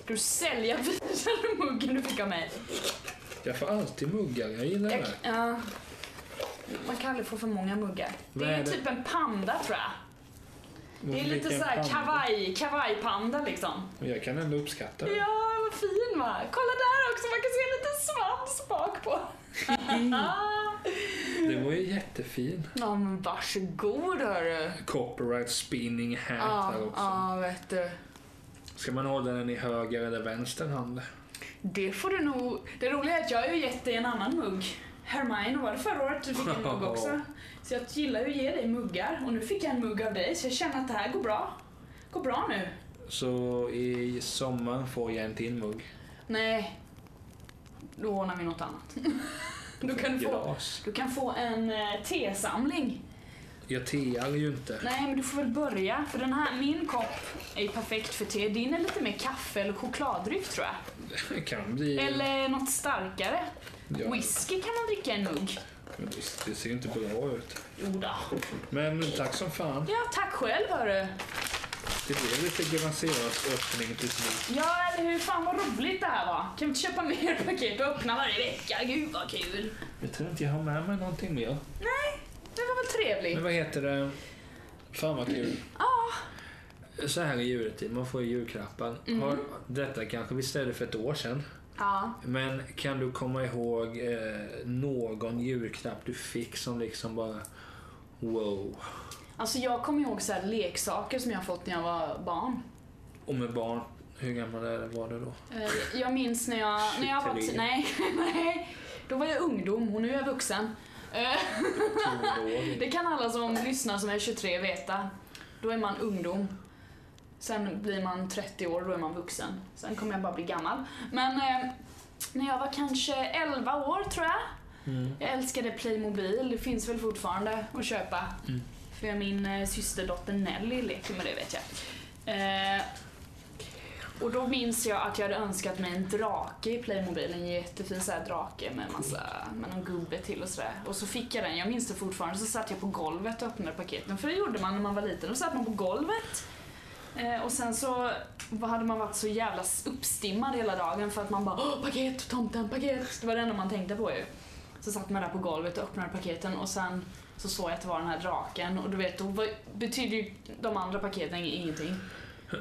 Speaker 2: Du säljer vidare muggen du fick av mig.
Speaker 1: Jag får alltid muggar, jag gillar
Speaker 2: Jag,
Speaker 1: det.
Speaker 2: ja. Man kan aldrig få för många muggar. Det
Speaker 1: Vad
Speaker 2: är
Speaker 1: är det?
Speaker 2: typ en panda tror jag. Det är lite
Speaker 1: Vilken
Speaker 2: såhär
Speaker 1: panda.
Speaker 2: kavaj, kavajpanda liksom.
Speaker 1: Men Jag kan ändå uppskatta det.
Speaker 2: Ja, vad fin va? Kolla där också, man kan se en liten svans bak på.
Speaker 1: Det var ju jättefin.
Speaker 2: ja men varsågod hörru.
Speaker 1: Copyright spinning hat
Speaker 2: Ja,
Speaker 1: här också.
Speaker 2: ja vet du.
Speaker 1: Ska man hålla den i höger eller vänster hand?
Speaker 2: Det får du nog... Det roliga är att jag har ju gett dig en annan mugg. Hermione var det förra året, du fick en mugg också. Så jag gillar ju att ge dig muggar och nu fick jag en mugg av dig så jag känner att det här går bra. Går bra nu.
Speaker 1: Så i sommar får jag en till mugg.
Speaker 2: Nej. Då ordnar vi något annat. du, kan få,
Speaker 1: Glas.
Speaker 2: du kan få en eh, tesamling.
Speaker 1: Jag tear ju inte.
Speaker 2: Nej, men du får väl börja. För den här, min kopp är ju perfekt för te. Din är lite mer kaffe eller chokladdryck tror jag.
Speaker 1: Det kan bli...
Speaker 2: Eller något starkare.
Speaker 1: Mm. Ja,
Speaker 2: Whisky kan man dricka i en mugg.
Speaker 1: men det, det ser ju inte bra ut.
Speaker 2: Jodå.
Speaker 1: Men tack som fan.
Speaker 2: Ja, tack själv hörru.
Speaker 1: Det blev lite graciös öppning till slut.
Speaker 2: Ja, eller hur? Fan vad roligt det här var. Kan vi inte köpa mer paket och öppna varje vecka? Gud vad kul.
Speaker 1: Jag tror inte jag har med mig någonting mer.
Speaker 2: Det var väl trevligt?
Speaker 1: Men vad heter det? Fan vad kul.
Speaker 2: Ja.
Speaker 1: Så här i juletid, man får ju julklappen.
Speaker 2: Mm.
Speaker 1: Har, detta kanske vi ställde för ett år sedan.
Speaker 2: Ja.
Speaker 1: Men kan du komma ihåg eh, någon julklapp du fick som liksom bara wow?
Speaker 2: Alltså jag kommer ihåg så här leksaker som jag fått när jag var barn.
Speaker 1: Och med barn, hur gammal är- var du då?
Speaker 2: Eh, Jag minns när jag, när jag var...
Speaker 1: Tjugotre.
Speaker 2: Nej, nej. Då var jag ungdom och nu är jag vuxen. Eh, Det kan alla som lyssnar som är 23 veta. Då är man ungdom. Sen blir man 30 år, då är man vuxen. Sen kommer jag bara bli gammal. Men eh, när jag var kanske 11 år tror jag.
Speaker 1: Mm.
Speaker 2: Jag älskade Playmobil, det finns väl fortfarande att köpa.
Speaker 1: Mm.
Speaker 2: För min eh, systerdotter Nelly leker med det vet jag. Eh, och då minns jag att jag hade önskat mig en drake i Playmobilen, en jättefin så här drake med, massa, med någon gubbe till och sådär. Och så fick jag den, jag minns det fortfarande, så satt jag på golvet och öppnade paketen. För det gjorde man när man var liten, då satt man på golvet. Eh, och sen så vad hade man varit så jävla uppstimmad hela dagen för att man bara Åh, paket, tomten, paket. Det var det enda man tänkte på ju. Så satt man där på golvet och öppnade paketen och sen så såg jag att det var den här draken och du vet, då var- betyder ju de andra paketen ingenting.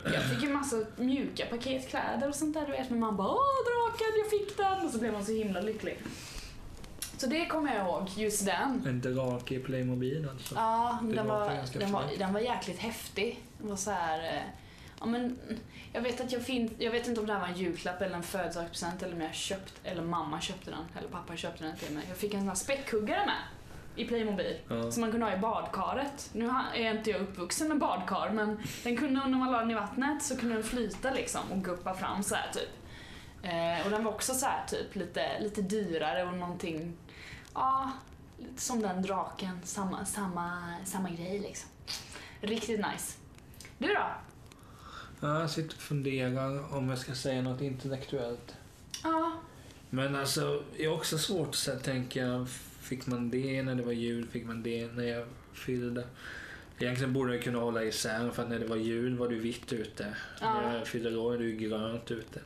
Speaker 2: Jag fick ju massa mjuka paketkläder och sånt där du vet, men man bara Åh draken, jag fick den! Och så blev man så himla lycklig. Så det kommer jag ihåg, just den.
Speaker 1: En drake i Playmobil alltså.
Speaker 2: Ja,
Speaker 1: Det
Speaker 2: den
Speaker 1: låter
Speaker 2: var,
Speaker 1: ganska
Speaker 2: den, var,
Speaker 1: fint.
Speaker 2: den var jäkligt häftig. Den var så här, eh, ja, men, jag, vet att jag, fin- jag vet inte om det här var en julklapp eller en födelsedagspresent eller om jag köpt, eller mamma köpte den, eller pappa köpte den till mig. Jag fick en sån här späckhuggare med i Playmobil.
Speaker 1: Ja.
Speaker 2: Som man kunde ha i badkaret. Nu ha- är inte jag uppvuxen med badkar men den kunde, när man la den i vattnet så kunde den flyta liksom och guppa fram så här typ. Eh, och den var också så här typ lite, lite dyrare och någonting, ja, lite som den draken, samma, samma, samma grej liksom. Riktigt nice. Du då?
Speaker 1: Ja, jag sitter och funderar om jag ska säga något intellektuellt.
Speaker 2: Ja,
Speaker 1: Men alltså, det är också svårt att så här tänka, fick man det när det var jul? Fick man det när jag fyllde? Egentligen borde jag kunna hålla isär för att när det var jul var du vitt ute.
Speaker 2: Ja.
Speaker 1: När jag fyller år är du grönt ute.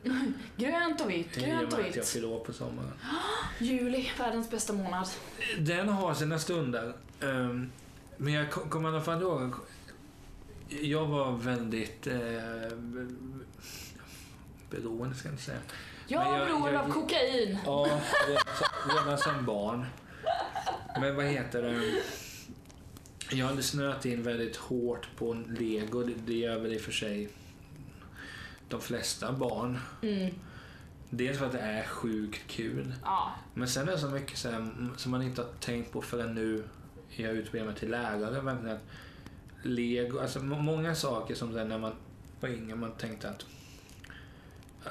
Speaker 2: grönt och vitt,
Speaker 1: I och
Speaker 2: grönt
Speaker 1: med
Speaker 2: och
Speaker 1: att jag
Speaker 2: vitt.
Speaker 1: fyller år på sommaren.
Speaker 2: Juli, världens bästa månad.
Speaker 1: Den har sina stunder. Ehm, men jag ko- kommer i alla fall ihåg. Jag var väldigt eh, be- be- beroende ska jag inte säga. Men
Speaker 2: Jag är
Speaker 1: jag-
Speaker 2: beroende
Speaker 1: jag-
Speaker 2: av kokain.
Speaker 1: Ja, redan som- redan som barn. Men vad heter det? Jag hade snöat in väldigt hårt på lego. Det- Det gör väl i och för sig de flesta barn.
Speaker 2: Mm.
Speaker 1: Dels för att det är sjukt kul.
Speaker 2: Ja,
Speaker 1: Men sen är det så mycket så här, m- som man inte har tänkt på förrän nu jag utbildar mig till lärare. Verkligen att lego, alltså må- många saker som sen när man var yngre man tänkte att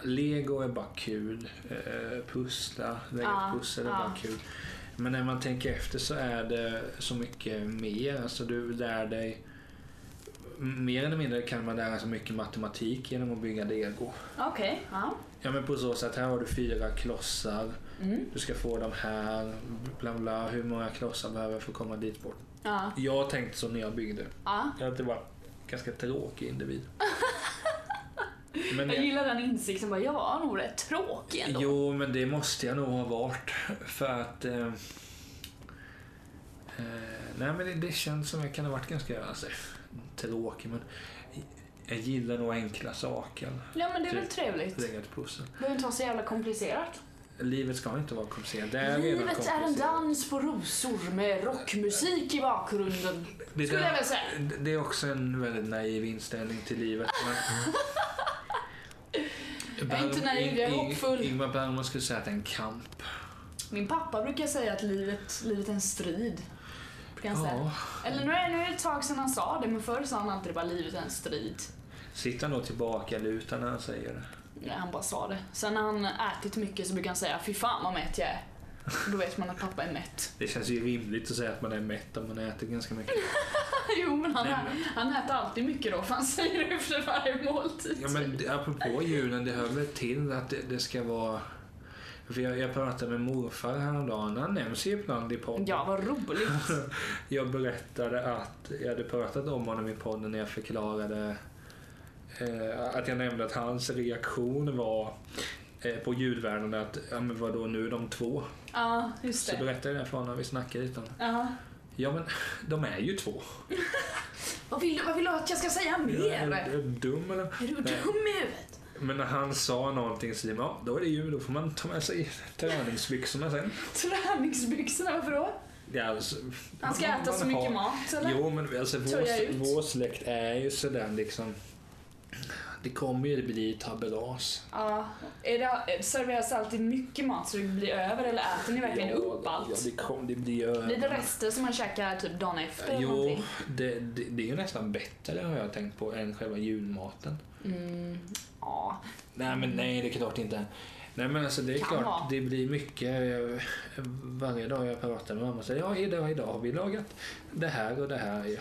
Speaker 1: lego är bara kul, eh, pussla, lägga
Speaker 2: Ja,
Speaker 1: ett pussel är
Speaker 2: ja.
Speaker 1: bara kul. Men när man tänker efter så är det så mycket mer. Alltså du lär dig Mer eller mindre kan man lära sig mycket matematik genom att bygga lego.
Speaker 2: okej. Ja.
Speaker 1: Ja men på så sätt, här har du fyra klossar.
Speaker 2: Mm.
Speaker 1: Du ska få de här, bla bla, hur många klossar behöver jag för att komma dit bort?
Speaker 2: Ja.
Speaker 1: Jag tänkte så när jag byggde.
Speaker 2: ja.
Speaker 1: Jag har alltid varit ganska tråkig individ. Men
Speaker 2: Jag
Speaker 1: jag,
Speaker 2: gillar den insikten, bara, jag var nog rätt tråkig ändå.
Speaker 1: jo, men det måste jag nog ha varit. För att... Eh, eh, nej, men det, det känns som jag kan ha varit ganska alltså, tråkig. Men Jag gillar nog enkla saker.
Speaker 2: Ja men det är väl
Speaker 1: Typ.
Speaker 2: trevligt. Det
Speaker 1: Lägga ett pussel.
Speaker 2: behöver inte vara så jävla komplicerat.
Speaker 1: Livet ska inte vara komplicerat. Det är redan
Speaker 2: Livet är en
Speaker 1: komplicerat.
Speaker 2: dans på rosor med rockmusik i bakgrunden.
Speaker 1: Det
Speaker 2: Skulle jag
Speaker 1: där-
Speaker 2: väl säga.
Speaker 1: Det är också en väldigt naiv inställning till livet. Men...
Speaker 2: Jag är inte naiv, jag är
Speaker 1: Ing-
Speaker 2: hoppfull.
Speaker 1: Ingmar Bergman skulle säga att det är en kamp.
Speaker 2: Min pappa brukar säga att livet, livet är en strid. Brukar han säga.
Speaker 1: Ja.
Speaker 2: Eller nu är, nu är det ett tag sedan han sa det men förr sa han alltid bara livet är en strid.
Speaker 1: Sitter han då tillbaka lutad när han säger det?
Speaker 2: Nej, han bara sa det. Sen när han ätit mycket så brukar han säga fy fan vad mätt jag är. Och Då vet man att pappa är mätt.
Speaker 1: Det känns ju rimligt att säga att man är mätt om man äter ganska mycket.
Speaker 2: jo men han,
Speaker 1: Nej,
Speaker 2: ä- han äter alltid mycket då för han säger det efter varje måltid.
Speaker 1: Ja, men det- apropå julen, det hör väl till att det, det ska vara... För jag, jag pratade med morfar häromdagen, han nämns ju ibland i podden.
Speaker 2: Ja vad roligt.
Speaker 1: Jag berättade att jag hade pratat om honom i podden när jag förklarade eh, att jag nämnde att hans reaktion var eh, på ljudvärlden att ja men vadå nu är de två?
Speaker 2: Ja just
Speaker 1: Så
Speaker 2: det.
Speaker 1: berättade jag det för honom, vi snackade lite om det.
Speaker 2: Ja.
Speaker 1: Ja men de är ju två.
Speaker 2: Vad vill, du- vad vill du att jag ska säga
Speaker 1: Är
Speaker 2: mer?
Speaker 1: du- är du dum eller?
Speaker 2: Är du dum
Speaker 1: Nej.
Speaker 2: i huvudet?
Speaker 1: Men när han sa någonting så tänkte jag, ja då är det jul, då får man ta med sig träningsbyxorna sen.
Speaker 2: Träningsbyxorna, varför då?
Speaker 1: Det är alltså,
Speaker 2: Han ska
Speaker 1: man-
Speaker 2: äta
Speaker 1: man
Speaker 2: så mycket
Speaker 1: har-
Speaker 2: mat eller?
Speaker 1: Jo, men alltså
Speaker 2: Tror jag
Speaker 1: vår,
Speaker 2: ut.
Speaker 1: vår släkt är ju sådär liksom. Det kommer ju bli tabelas.
Speaker 2: Ja. Är det, serveras alltid mycket mat så det blir över eller äter ni verkligen
Speaker 1: Ja,
Speaker 2: upp allt?
Speaker 1: Ja, det, kom, det blir ju...
Speaker 2: Blir det rester som man käkar typ dagen efter eller
Speaker 1: Jo,
Speaker 2: någonting?
Speaker 1: det, det, det är ju nästan bättre har jag tänkt på än själva julmaten.
Speaker 2: Mm, ja.
Speaker 1: Nej, men nej, det är klart inte. Nej, men alltså det är
Speaker 2: Mm. Kan
Speaker 1: klart,
Speaker 2: vara.
Speaker 1: det blir mycket. eh, Varje dag jag pratar med mamma säger ja, idag, idag har vi lagat det här och det här. Ja,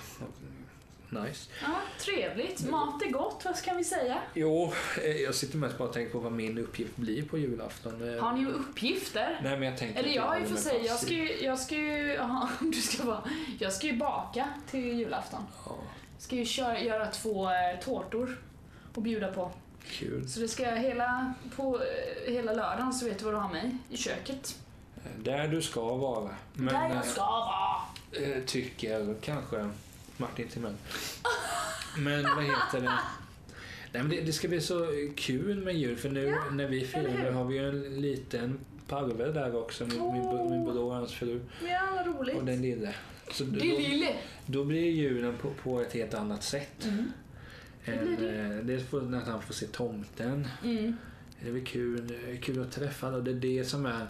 Speaker 1: nice.
Speaker 2: ja. Trevligt. Mat är gott, vad ska vi säga?
Speaker 1: Jo, eh, jag sitter mest bara och tänker på vad min uppgift blir på julafton. Eh,
Speaker 2: Har ni uppgifter?
Speaker 1: Nej, men jag tänker
Speaker 2: Eller
Speaker 1: att jag
Speaker 2: jag i och
Speaker 1: håller
Speaker 2: för
Speaker 1: mig
Speaker 2: sig, jag ska
Speaker 1: passiv.
Speaker 2: ju, jag ska ju, ja, du ska vara, jag ska ju baka till julafton.
Speaker 1: Ja,
Speaker 2: Ska ju köra, göra två eh, tårtor och bjuda på.
Speaker 1: kul.
Speaker 2: Så det ska jag hela, på eh, hela lördagen så vet du vad du har mig i köket.
Speaker 1: Där du ska vara. Men
Speaker 2: Där jag ska vara!
Speaker 1: eh, tycker kanske Martin Timell. Men vad heter det? Nej, men det, det ska bli så kul med jul för nu när vi
Speaker 2: eller
Speaker 1: firar
Speaker 2: hur?
Speaker 1: har vi ju en liten parvel där också. Min, min, bro- min bror och hans fru
Speaker 2: Ja, vad
Speaker 1: och
Speaker 2: roligt.
Speaker 1: den lille. Så då,
Speaker 2: Oh. Det är lille.
Speaker 1: då blir julen på, på ett helt annat sätt.
Speaker 2: Mm.
Speaker 1: Än, eh, dels får, att han får se tomten.
Speaker 2: Mm.
Speaker 1: Det är väl kul, eh, kul att träffa alla. Det är det som är...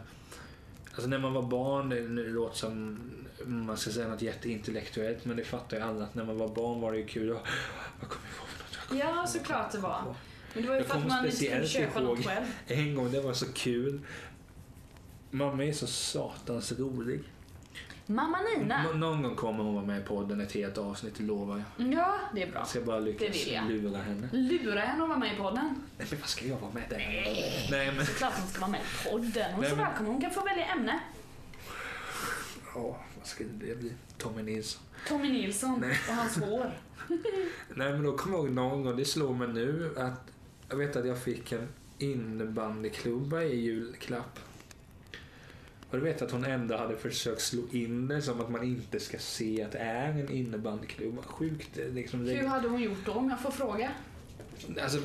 Speaker 1: Alltså när man var barn, det nu låter som man ska säga något jätteintellektuellt men det fattar ju alla att när man var barn var det ju kul. att- Vad kommer jag ihåg för något? Vad kommer
Speaker 2: Ja,
Speaker 1: jag
Speaker 2: såklart det var.
Speaker 1: ihåg?
Speaker 2: Men det var ju
Speaker 1: Jag
Speaker 2: för att
Speaker 1: kommer
Speaker 2: man inte kunde
Speaker 1: speciellt
Speaker 2: köpa något
Speaker 1: ihåg-
Speaker 2: själv.
Speaker 1: En gång, det var så kul. Mamma är så satans rolig.
Speaker 2: Mamma Nina.
Speaker 1: Nå- Någon gång kommer hon vara med i podden ett helt avsnitt, lovar jag.
Speaker 2: Ja, det är bra.
Speaker 1: Jag ska bara
Speaker 2: Det
Speaker 1: lyckas
Speaker 2: vill jag.
Speaker 1: lura henne.
Speaker 2: Lura henne att vara med i podden.
Speaker 1: Nej men vad ska jag vara med där? Nej men...
Speaker 2: Klart hon ska vara med i podden. Hon är
Speaker 1: Nej,
Speaker 2: så
Speaker 1: men-
Speaker 2: välkommen, hon kan få välja ämne.
Speaker 1: Ja, vad ska det bli? Tommy Nilsson.
Speaker 2: Tommy Nilsson
Speaker 1: Nej.
Speaker 2: och hans hår.
Speaker 1: Nej men då kommer jag ihåg någon gång, det slår mig nu att jag vet att jag fick en innebandyklubba i julklapp. Och du vet att hon ändå hade försökt slå in det som att man inte ska se att det är en innebandyklubba. Sjukt eh, liksom.
Speaker 2: Hur
Speaker 1: Det,
Speaker 2: hade hon gjort då om jag får fråga?
Speaker 1: alltså,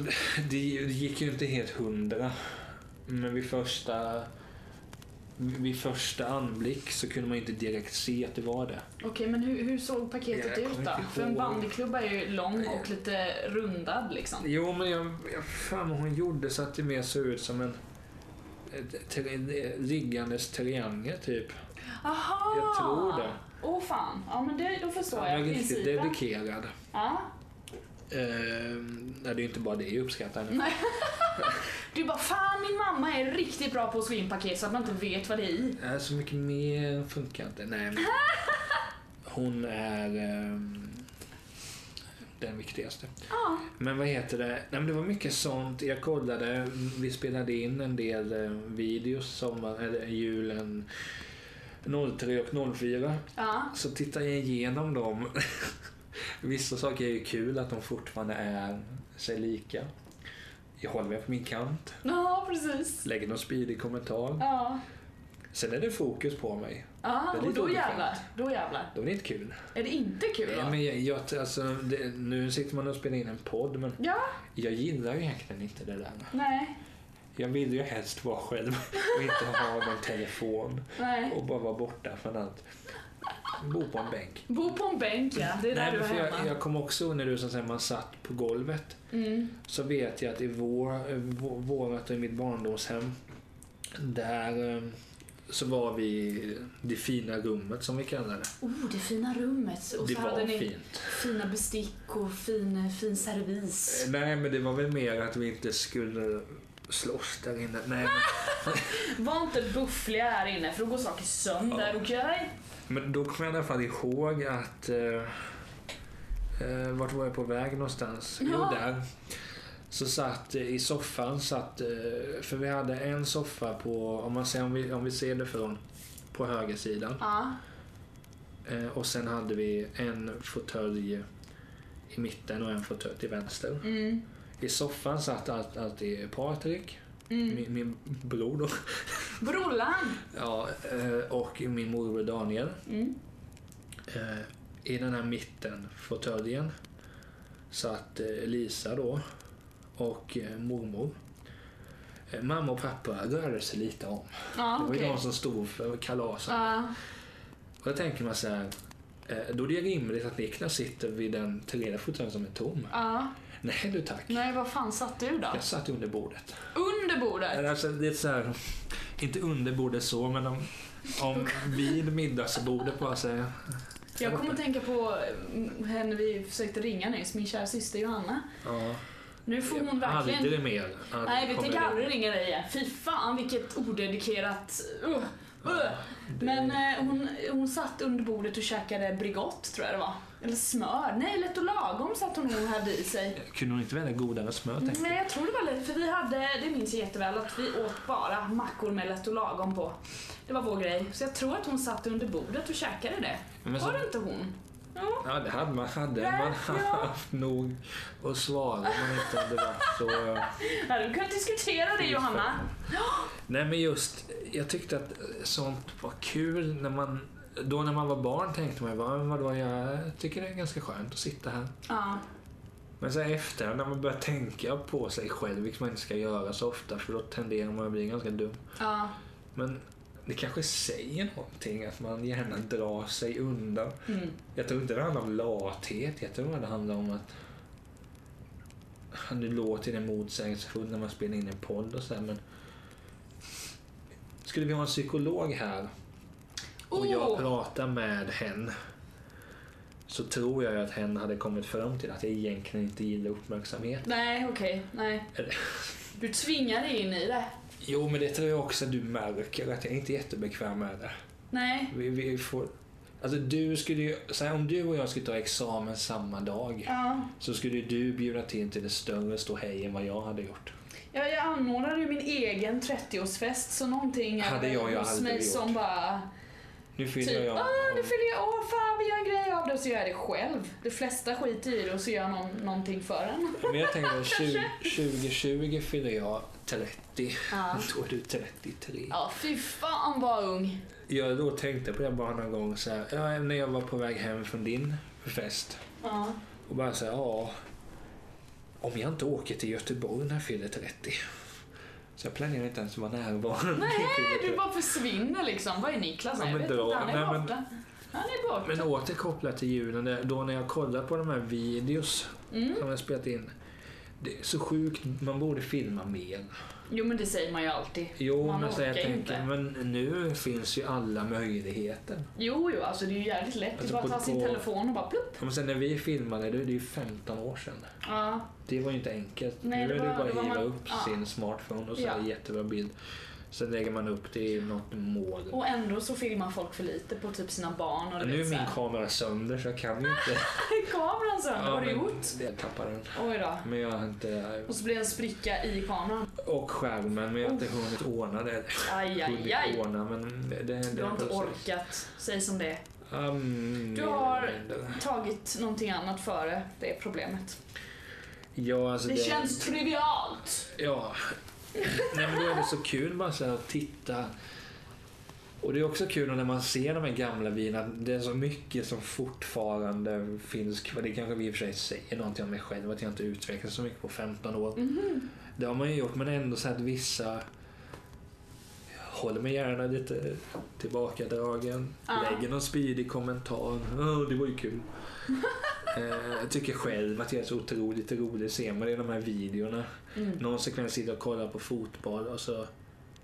Speaker 1: det gick ju inte helt hundra. Men vid första, vid första anblick så kunde man inte direkt se att det var det.
Speaker 2: Okej, men hur, hur såg paketet
Speaker 1: Jag kommer
Speaker 2: ut då?
Speaker 1: inte
Speaker 2: För en
Speaker 1: ihåg.
Speaker 2: bandyklubba är ju lång
Speaker 1: Nej.
Speaker 2: och lite rundad liksom.
Speaker 1: Jo, men jag, jag fan vad hon gjorde så att det mer såg ut som en ett tri- liggandes triangel typ.
Speaker 2: Aha!
Speaker 1: Jag tror det.
Speaker 2: Åh fan, ja men det, då förstår
Speaker 1: Han
Speaker 2: Ah, jag
Speaker 1: var riktigt
Speaker 2: principen.
Speaker 1: dedikerad.
Speaker 2: Ja.
Speaker 1: Ehm, nej, det är ju inte bara det jag uppskattar nu.
Speaker 2: Nej. Du bara fan min mamma är riktigt bra på att slå in paket så att man inte vet vad det är i.
Speaker 1: Nej, så mycket mer funkar inte. Nej, men hon är ehm, den viktigaste.
Speaker 2: Ja.
Speaker 1: Men vad heter det? Nej, men det var mycket sånt. Jag kollade, vi spelade in en del eh, videos sommar, eller julen 03 och 04.
Speaker 2: Ja.
Speaker 1: Så tittar jag igenom dem. Vissa saker är ju kul att de fortfarande är sig lika. Jag håller mig på min kant.
Speaker 2: Ja, precis.
Speaker 1: Lägger någon spydig kommentar.
Speaker 2: Ja.
Speaker 1: Sen är det fokus på mig.
Speaker 2: Ja,
Speaker 1: Det är
Speaker 2: och
Speaker 1: lite
Speaker 2: då
Speaker 1: obekvämt.
Speaker 2: jävlar. Då jävlar.
Speaker 1: Då är det inte kul.
Speaker 2: Är det inte kul
Speaker 1: Ja,
Speaker 2: då?
Speaker 1: men jag, jag, alltså, det, nu sitter man och spelar in en podd men
Speaker 2: Ja,
Speaker 1: jag gillar ju egentligen inte det där.
Speaker 2: nej,
Speaker 1: Jag vill ju helst vara själv och inte ha någon telefon
Speaker 2: nej.
Speaker 1: och bara vara borta från allt. Bo på en bänk.
Speaker 2: Bo på en bänk ja, det är där
Speaker 1: Nej,
Speaker 2: du
Speaker 1: men
Speaker 2: är
Speaker 1: för
Speaker 2: hemma.
Speaker 1: jag, jag kommer också ihåg när du sa att man satt på golvet.
Speaker 2: Mm.
Speaker 1: Så vet jag att i vår, vå- vårat och i mitt barndomshem. Där eh, så var vi i det fina rummet som vi kallar det.
Speaker 2: Oh, det fina rummet. Och
Speaker 1: det
Speaker 2: så hade
Speaker 1: var
Speaker 2: ni
Speaker 1: fint.
Speaker 2: fina bestick och fin, fin servis.
Speaker 1: Eh, Nej men det var väl mer att vi inte skulle slåss där inne. Nej,
Speaker 2: Var inte buffliga här inne för då går saker sönder,
Speaker 1: Ja.
Speaker 2: okej?
Speaker 1: men, men då kommer jag i alla fall ihåg att... Eh, eh, vart var jag på väg någonstans? Jo,
Speaker 2: Ja.
Speaker 1: där. Så satt eh, i soffan, satt, eh, för vi hade en soffa på, om, man ser, om, vi, om vi ser det från, på högersidan.
Speaker 2: Ja.
Speaker 1: Eh, och sen hade vi en fåtölj i mitten och en fåtölj till vänster.
Speaker 2: Mm.
Speaker 1: I soffan satt allt- alltid Patrik,
Speaker 2: Mm.
Speaker 1: min, min bror då.
Speaker 2: Brollan!
Speaker 1: Ja, eh, och min morbror Daniel.
Speaker 2: Mm.
Speaker 1: Eh, I den här mitten fåtöljen satt eh, Lisa då och eh, mormor. Eh, Mamma och pappa rörde sig lite om.
Speaker 2: Ja,
Speaker 1: Det var ju
Speaker 2: okej.
Speaker 1: de som stod för kalasen.
Speaker 2: Ja.
Speaker 1: Och då tänker man så här, eh, då är det rimligt att Niklas sitter vid den tredje fåtöljen som är tom.
Speaker 2: Ja.
Speaker 1: Nej du tack.
Speaker 2: Nej, var fan satt du då?
Speaker 1: Jag satt under bordet.
Speaker 2: Under bordet?
Speaker 1: Eller Alltså, det är så här, inte under bordet så, men om, om vid middagsbordet bara säga.
Speaker 2: Jag kommer att tänka på mm, henne vi försökte ringa nyss, min kära syster Johanna.
Speaker 1: Ja.
Speaker 2: Nu får hon verkligen...
Speaker 1: Aldrig mer. Aldrig
Speaker 2: Nej, vi
Speaker 1: kommer
Speaker 2: tänker
Speaker 1: det.
Speaker 2: aldrig ringa dig igen. Fy fan vilket odedikerat... Uh, uh.
Speaker 1: Det-
Speaker 2: Men eh, hon, hon satt under bordet och käkade Bregott, tror jag det var. Eller smör. Nej, Lätt och lagom satt hon och hade i sig.
Speaker 1: Kunde hon inte välja godare smör? tänkte
Speaker 2: Nej, jag tror det var lätt, för vi hade, det minns jag jätteväl, att vi åt bara mackor med Lätt och lagom på. Det var vår grej. Så jag tror att hon satt under bordet och käkade det.
Speaker 1: jag. Men
Speaker 2: Var
Speaker 1: så,
Speaker 2: det inte hon? Ja.
Speaker 1: ja, det hade man. Hade man
Speaker 2: ja.
Speaker 1: haft nog att svara om man inte hade varit så... eh,
Speaker 2: Nej, du kan diskutera det Johanna.
Speaker 1: Nej, men just, jag tyckte att sånt var kul när man... Då när man var barn tänkte man ju bara, "Men vadå, jag tycker det är ganska skönt att sitta här.
Speaker 2: Ja.
Speaker 1: Men sen efter när man börjar tänka på sig själv, vilket man inte ska göra så ofta för då tenderar man att bli ganska dum.
Speaker 2: Ja.
Speaker 1: Men det kanske säger någonting att man gärna drar sig undan.
Speaker 2: Mm.
Speaker 1: Jag tror inte det handlar om lathet, jag tror det handlar om att nu låter det motsägelsefullt när man spelar in en podd och så här, men skulle vi ha en psykolog här och jag
Speaker 2: Oh!
Speaker 1: pratar med hen så tror jag att hen hade kommit fram till att jag egentligen inte gillar uppmärksamhet.
Speaker 2: Nej, okej. Nej.
Speaker 1: Eller-
Speaker 2: Du tvingar dig in i det.
Speaker 1: Jo, men det tror jag också att du märker att jag inte är jättebekväm med det.
Speaker 2: Nej.
Speaker 1: Vi, vi får... Alltså du skulle ju, så här, om du och jag skulle ta examen samma dag
Speaker 2: Ja.
Speaker 1: så skulle ju du bjuda till till det större ståhej än vad jag hade gjort.
Speaker 2: Ja, jag anordnade ju min egen 30-årsfest så någonting är
Speaker 1: Hade jag
Speaker 2: väl
Speaker 1: ju
Speaker 2: hos
Speaker 1: aldrig
Speaker 2: mig
Speaker 1: gjort.
Speaker 2: som bara
Speaker 1: Nu fyller
Speaker 2: typ
Speaker 1: jag...
Speaker 2: ah nu fyller jag år, fan vi gör en grej av det och så gör jag det själv. De flesta skiter i det och så gör någon någonting för en.
Speaker 1: Men jag tänker att 20, 2020 fyller jag 30.
Speaker 2: Ja.
Speaker 1: Då är du 33.
Speaker 2: Ja, fy fan vad ung.
Speaker 1: Jag då tänkte på det bara någon gång så här, ja, när jag var på väg hem från din fest
Speaker 2: Ja.
Speaker 1: och bara så här, ja. Om jag inte åker till Göteborg när jag fyller 30. Så jag planerar inte ens att vara närvarande. när jag fyller
Speaker 2: Nej,
Speaker 1: 30.
Speaker 2: du bara försvinner liksom. Vad är Niklas?
Speaker 1: Ja,
Speaker 2: jag
Speaker 1: men
Speaker 2: vet inte,
Speaker 1: dra.
Speaker 2: han
Speaker 1: Nej,
Speaker 2: är
Speaker 1: men-
Speaker 2: borta. Han är borta.
Speaker 1: Men återkopplat till julen, där- då när jag kollar på de här videos
Speaker 2: Mm.
Speaker 1: som jag spelat in. Det är så sjukt, man borde filma mer.
Speaker 2: Jo men det säger man ju alltid.
Speaker 1: Jo,
Speaker 2: Man
Speaker 1: men så jag
Speaker 2: orkar ju
Speaker 1: tänker,
Speaker 2: inte.
Speaker 1: men nu finns ju alla möjligheter.
Speaker 2: Jo, jo, alltså det är ju jävligt lätt.
Speaker 1: Alltså,
Speaker 2: det är
Speaker 1: på-
Speaker 2: bara att ta sin
Speaker 1: på-
Speaker 2: telefon och bara plupp.
Speaker 1: Men sen när vi filmade, det är det ju 15 år sedan.
Speaker 2: Ja,
Speaker 1: Det var ju inte enkelt. nu
Speaker 2: Nej, det
Speaker 1: är det
Speaker 2: var-
Speaker 1: bara
Speaker 2: det
Speaker 1: att
Speaker 2: var
Speaker 1: hiva
Speaker 2: man-
Speaker 1: upp
Speaker 2: ja.
Speaker 1: sin smartphone och så
Speaker 2: Ja.
Speaker 1: är det jättebra bild. Sen lägger man upp det i något mål.
Speaker 2: och ändå så filmar folk för lite på typ sina barn och du
Speaker 1: nu är
Speaker 2: vet, så
Speaker 1: min
Speaker 2: här.
Speaker 1: kamera sönder så jag kan ju inte.
Speaker 2: Kameran sönder, vad har du
Speaker 1: men
Speaker 2: gjort?
Speaker 1: Jag tappade den.
Speaker 2: Oj då.
Speaker 1: Men jag har inte...
Speaker 2: Och så blir det en spricka i kameran.
Speaker 1: Och skärmen, men jag har inte hunnit ordna det.
Speaker 2: Aj, aj,
Speaker 1: hunnit
Speaker 2: aj.
Speaker 1: ordna men det, det
Speaker 2: Du har inte orkat, säg som det är.
Speaker 1: Um,
Speaker 2: Du har- Tagit någonting annat före det problemet.
Speaker 1: Ja, alltså
Speaker 2: Det känns trivialt.
Speaker 1: Ja. Nej men då är det så kul bara så här att titta Och det är också kul när man ser de här gamla vinerna. Det är så mycket som fortfarande finns kvar. Det kanske vi i och för sig säger någonting om mig själv. Att jag inte utvecklats så mycket på 15 år.
Speaker 2: Mhm.
Speaker 1: Det har man ju gjort men ändå så att vissa håller mig gärna lite tillbakadragen.
Speaker 2: Ja.
Speaker 1: Lägger någon spydig kommentar. Åh, det var ju kul. Eh, Jag tycker själv att jag är så otroligt rolig. Ser man det i de här videorna.
Speaker 2: Mm.
Speaker 1: Någon sekvens sitter och kollar på fotboll och så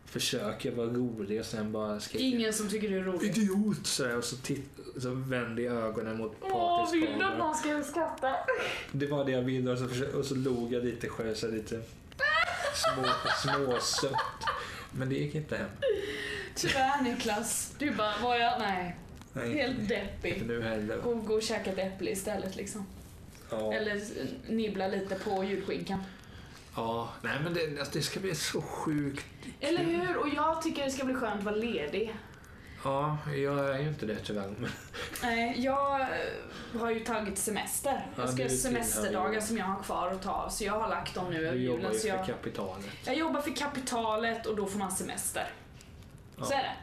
Speaker 1: försöker jag vara rolig och sen bara skriker
Speaker 2: Ingen som tycker det är roligt.
Speaker 1: Idiot! Så, här, och så, titt- så vänder jag ögonen mot
Speaker 2: Åh,
Speaker 1: Patriks
Speaker 2: vill du att
Speaker 1: kamera.
Speaker 2: någon ska skratta?
Speaker 1: Det var det jag ville och så, försö- och så log jag lite själv, så här lite små, småsött. Men det gick inte hem.
Speaker 2: Tyvärr Niklas. Du bara, var jag... Nej.
Speaker 1: Nej,
Speaker 2: Helt
Speaker 1: inte
Speaker 2: deppig.
Speaker 1: nu heller.
Speaker 2: Gå, gå och käka ett äpple istället liksom.
Speaker 1: Ja.
Speaker 2: Eller eh, nibbla lite på julskinkan.
Speaker 1: ja. Nej men det, alltså, det ska bli så sjukt.
Speaker 2: Eller hur? Och jag tycker det ska bli skönt att vara ledig.
Speaker 1: Ja, jag är ju inte det tyvärr. Men
Speaker 2: Nej, jag eh, har ju tagit semester.
Speaker 1: Ja,
Speaker 2: Jag ska
Speaker 1: det är
Speaker 2: ha
Speaker 1: ju
Speaker 2: semesterdagar
Speaker 1: tillhör-
Speaker 2: som jag har kvar att ta så jag har lagt dem nu över
Speaker 1: du jobbar
Speaker 2: julen.
Speaker 1: ju
Speaker 2: Så
Speaker 1: för
Speaker 2: jag,
Speaker 1: kapitalet.
Speaker 2: jag jobbar för kapitalet och då får man semester. Så är det.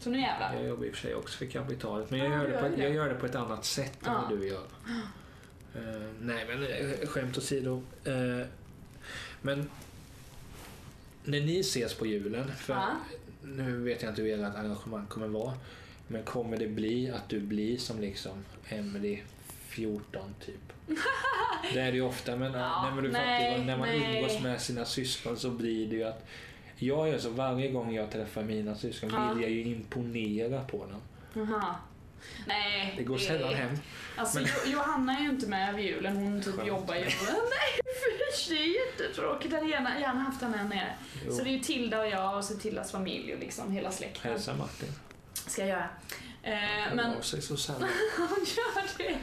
Speaker 2: Så nu jävlar.
Speaker 1: Jag jobbar i och för sig också för kapitalet. Men
Speaker 2: Ja,
Speaker 1: jag,
Speaker 2: du
Speaker 1: gör, det på
Speaker 2: gör ju
Speaker 1: ett,
Speaker 2: det.
Speaker 1: jag gör det på ett annat sätt än
Speaker 2: Ja.
Speaker 1: vad du gör. Eh, nej, men eh, skämt åsido. Uh, men när ni ses på julen, för
Speaker 2: Ja.
Speaker 1: nu vet jag inte hur ert arrangemang kommer vara. Men kommer det bli att du blir som liksom Emily 14 typ? det är det ju ofta, men,
Speaker 2: Ja,
Speaker 1: nej, men du
Speaker 2: nej,
Speaker 1: fattar ju, när man
Speaker 2: nej.
Speaker 1: umgås med sina syskon så blir det ju att jag gör så varje gång jag träffar mina syskon
Speaker 2: Ja.
Speaker 1: vill jag ju imponera på dem.
Speaker 2: Aha. Nej.
Speaker 1: Det går sällan hem.
Speaker 2: Alltså
Speaker 1: Men-
Speaker 2: Jo- Johanna är ju inte med över julen, hon typ
Speaker 1: Skönt.
Speaker 2: jobbar ju. Nej fy, det är jättetråkigt, jag hade gärna, gärna haft henne här nere.
Speaker 1: Jo.
Speaker 2: Så det är ju Tilda och jag och så Tildas familj och liksom hela släkten.
Speaker 1: Hälsa Martin.
Speaker 2: Ska jag göra. Eh,
Speaker 1: Han
Speaker 2: men
Speaker 1: men... av sig så sällan.
Speaker 2: hon gör det.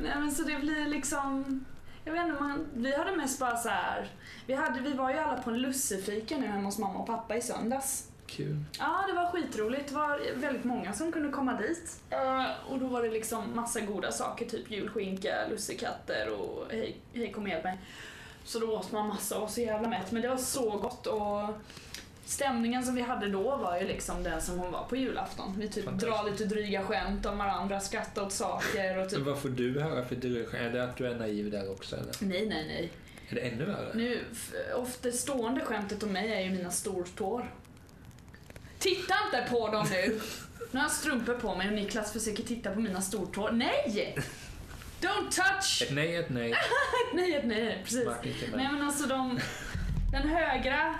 Speaker 2: Nej men så det blir liksom, jag vet inte, man, vi hade mest bara så här. Vi, hade, vi var ju alla på en lussefika nu hemma hos mamma och pappa i söndags.
Speaker 1: Kul.
Speaker 2: Ja, det var skitroligt. Det var väldigt många som kunde komma dit. Eh, och då var det liksom massa goda saker, typ julskinka, lussekatter och hej, hej kom och hjälp mig. Så då åt man massa och var så jävla mätt, men det var så gott och stämningen som vi hade då var ju liksom den som hon var på julafton. Vi typ
Speaker 1: Fantastiskt.
Speaker 2: drar lite dryga skämt om varandra, skrattar åt saker och
Speaker 1: Men
Speaker 2: typ
Speaker 1: vad får du höra för dryg? Är det att du är naiv där också eller?
Speaker 2: Nej, nej, nej.
Speaker 1: Är det ännu värre?
Speaker 2: Nu, f- ofta stående skämtet om mig är ju mina stortår. Titta inte på dem nu! Nu har jag strumpor på mig och Niklas försöker titta på mina stortår. Nej! Don't touch!
Speaker 1: Ett nej, ett nej.
Speaker 2: Nej, ett nej, precis.
Speaker 1: Martin till
Speaker 2: Nej
Speaker 1: mig.
Speaker 2: men alltså de... Den högra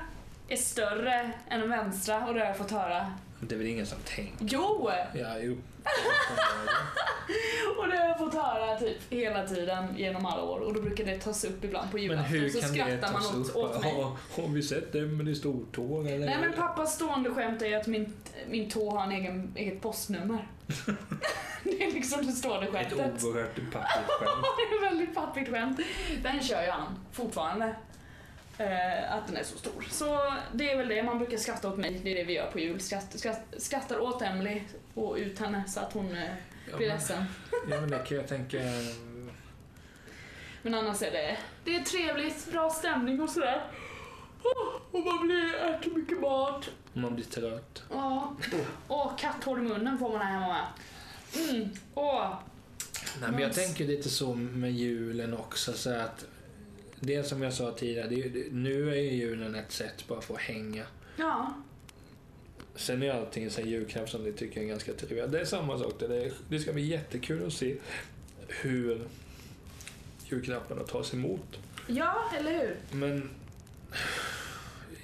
Speaker 2: är större än den vänstra och det har jag fått höra.
Speaker 1: Det är väl ingen som tänker?
Speaker 2: Jo!
Speaker 1: Ja, jo.
Speaker 2: Och det har jag fått höra typ hela tiden genom alla år och då brukar det tas upp ibland på
Speaker 1: Men
Speaker 2: julafton
Speaker 1: hur
Speaker 2: så
Speaker 1: kan det
Speaker 2: skrattar man
Speaker 1: tas
Speaker 2: åt,
Speaker 1: upp?
Speaker 2: åt mig.
Speaker 1: Har, har vi sett Emelie i stortår eller?
Speaker 2: Nej men pappas stående skämt är ju att min, min tå har en egen, eget postnummer. det är liksom det stående
Speaker 1: Ett
Speaker 2: skämtet.
Speaker 1: oerhört pappigt skämt.
Speaker 2: det är ett väldigt pappigt skämt. Den kör ju han fortfarande. Eh, att den är så stor. Så det är väl det man brukar skratta åt mig. Det är det vi gör på jul. Skratt, skratt, skrattar åt Emily och ut henne så att hon eh,
Speaker 1: Ja,
Speaker 2: blir
Speaker 1: men,
Speaker 2: ledsen.
Speaker 1: ja, men det kan jag tänka. eh,
Speaker 2: Men annars är det, det är trevligt, bra stämning och sådär. Oh, och man blir, äter mycket mat.
Speaker 1: Man blir trött.
Speaker 2: Ja. Och katthår i munnen får man här hemma med. Mm. Åh.
Speaker 1: Nej, men jag
Speaker 2: Mons.
Speaker 1: tänker lite så med julen också. Så att det som jag sa tidigare, det är, ju- nu är ju julen ett sätt bara för att hänga.
Speaker 2: Ja.
Speaker 1: Sen är allting sen julklapp som det tycker jag är ganska trevligt. Det är samma sak där. Det, är, det ska bli jättekul att se hur julklapparna tas emot.
Speaker 2: Ja, eller hur?
Speaker 1: Men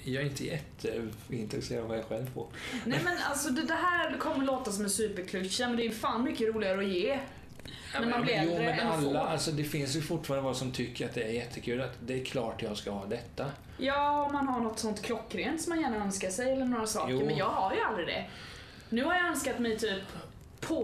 Speaker 1: jag är inte jätteintresserad av vad jag själv får.
Speaker 2: Nej men alltså det, det här kommer låta som en superklyscha men det är fan mycket roligare att ge. När man blir
Speaker 1: jo,
Speaker 2: äldre
Speaker 1: men
Speaker 2: än att få.
Speaker 1: alla, alltså det finns ju fortfarande vad som tycker att det är jättekul. Att det är klart jag ska ha detta.
Speaker 2: Ja, om man har något sånt klockrent som man gärna önskar sig eller några saker
Speaker 1: Jo.
Speaker 2: men jag har ju aldrig det. Nu har jag önskat mig typ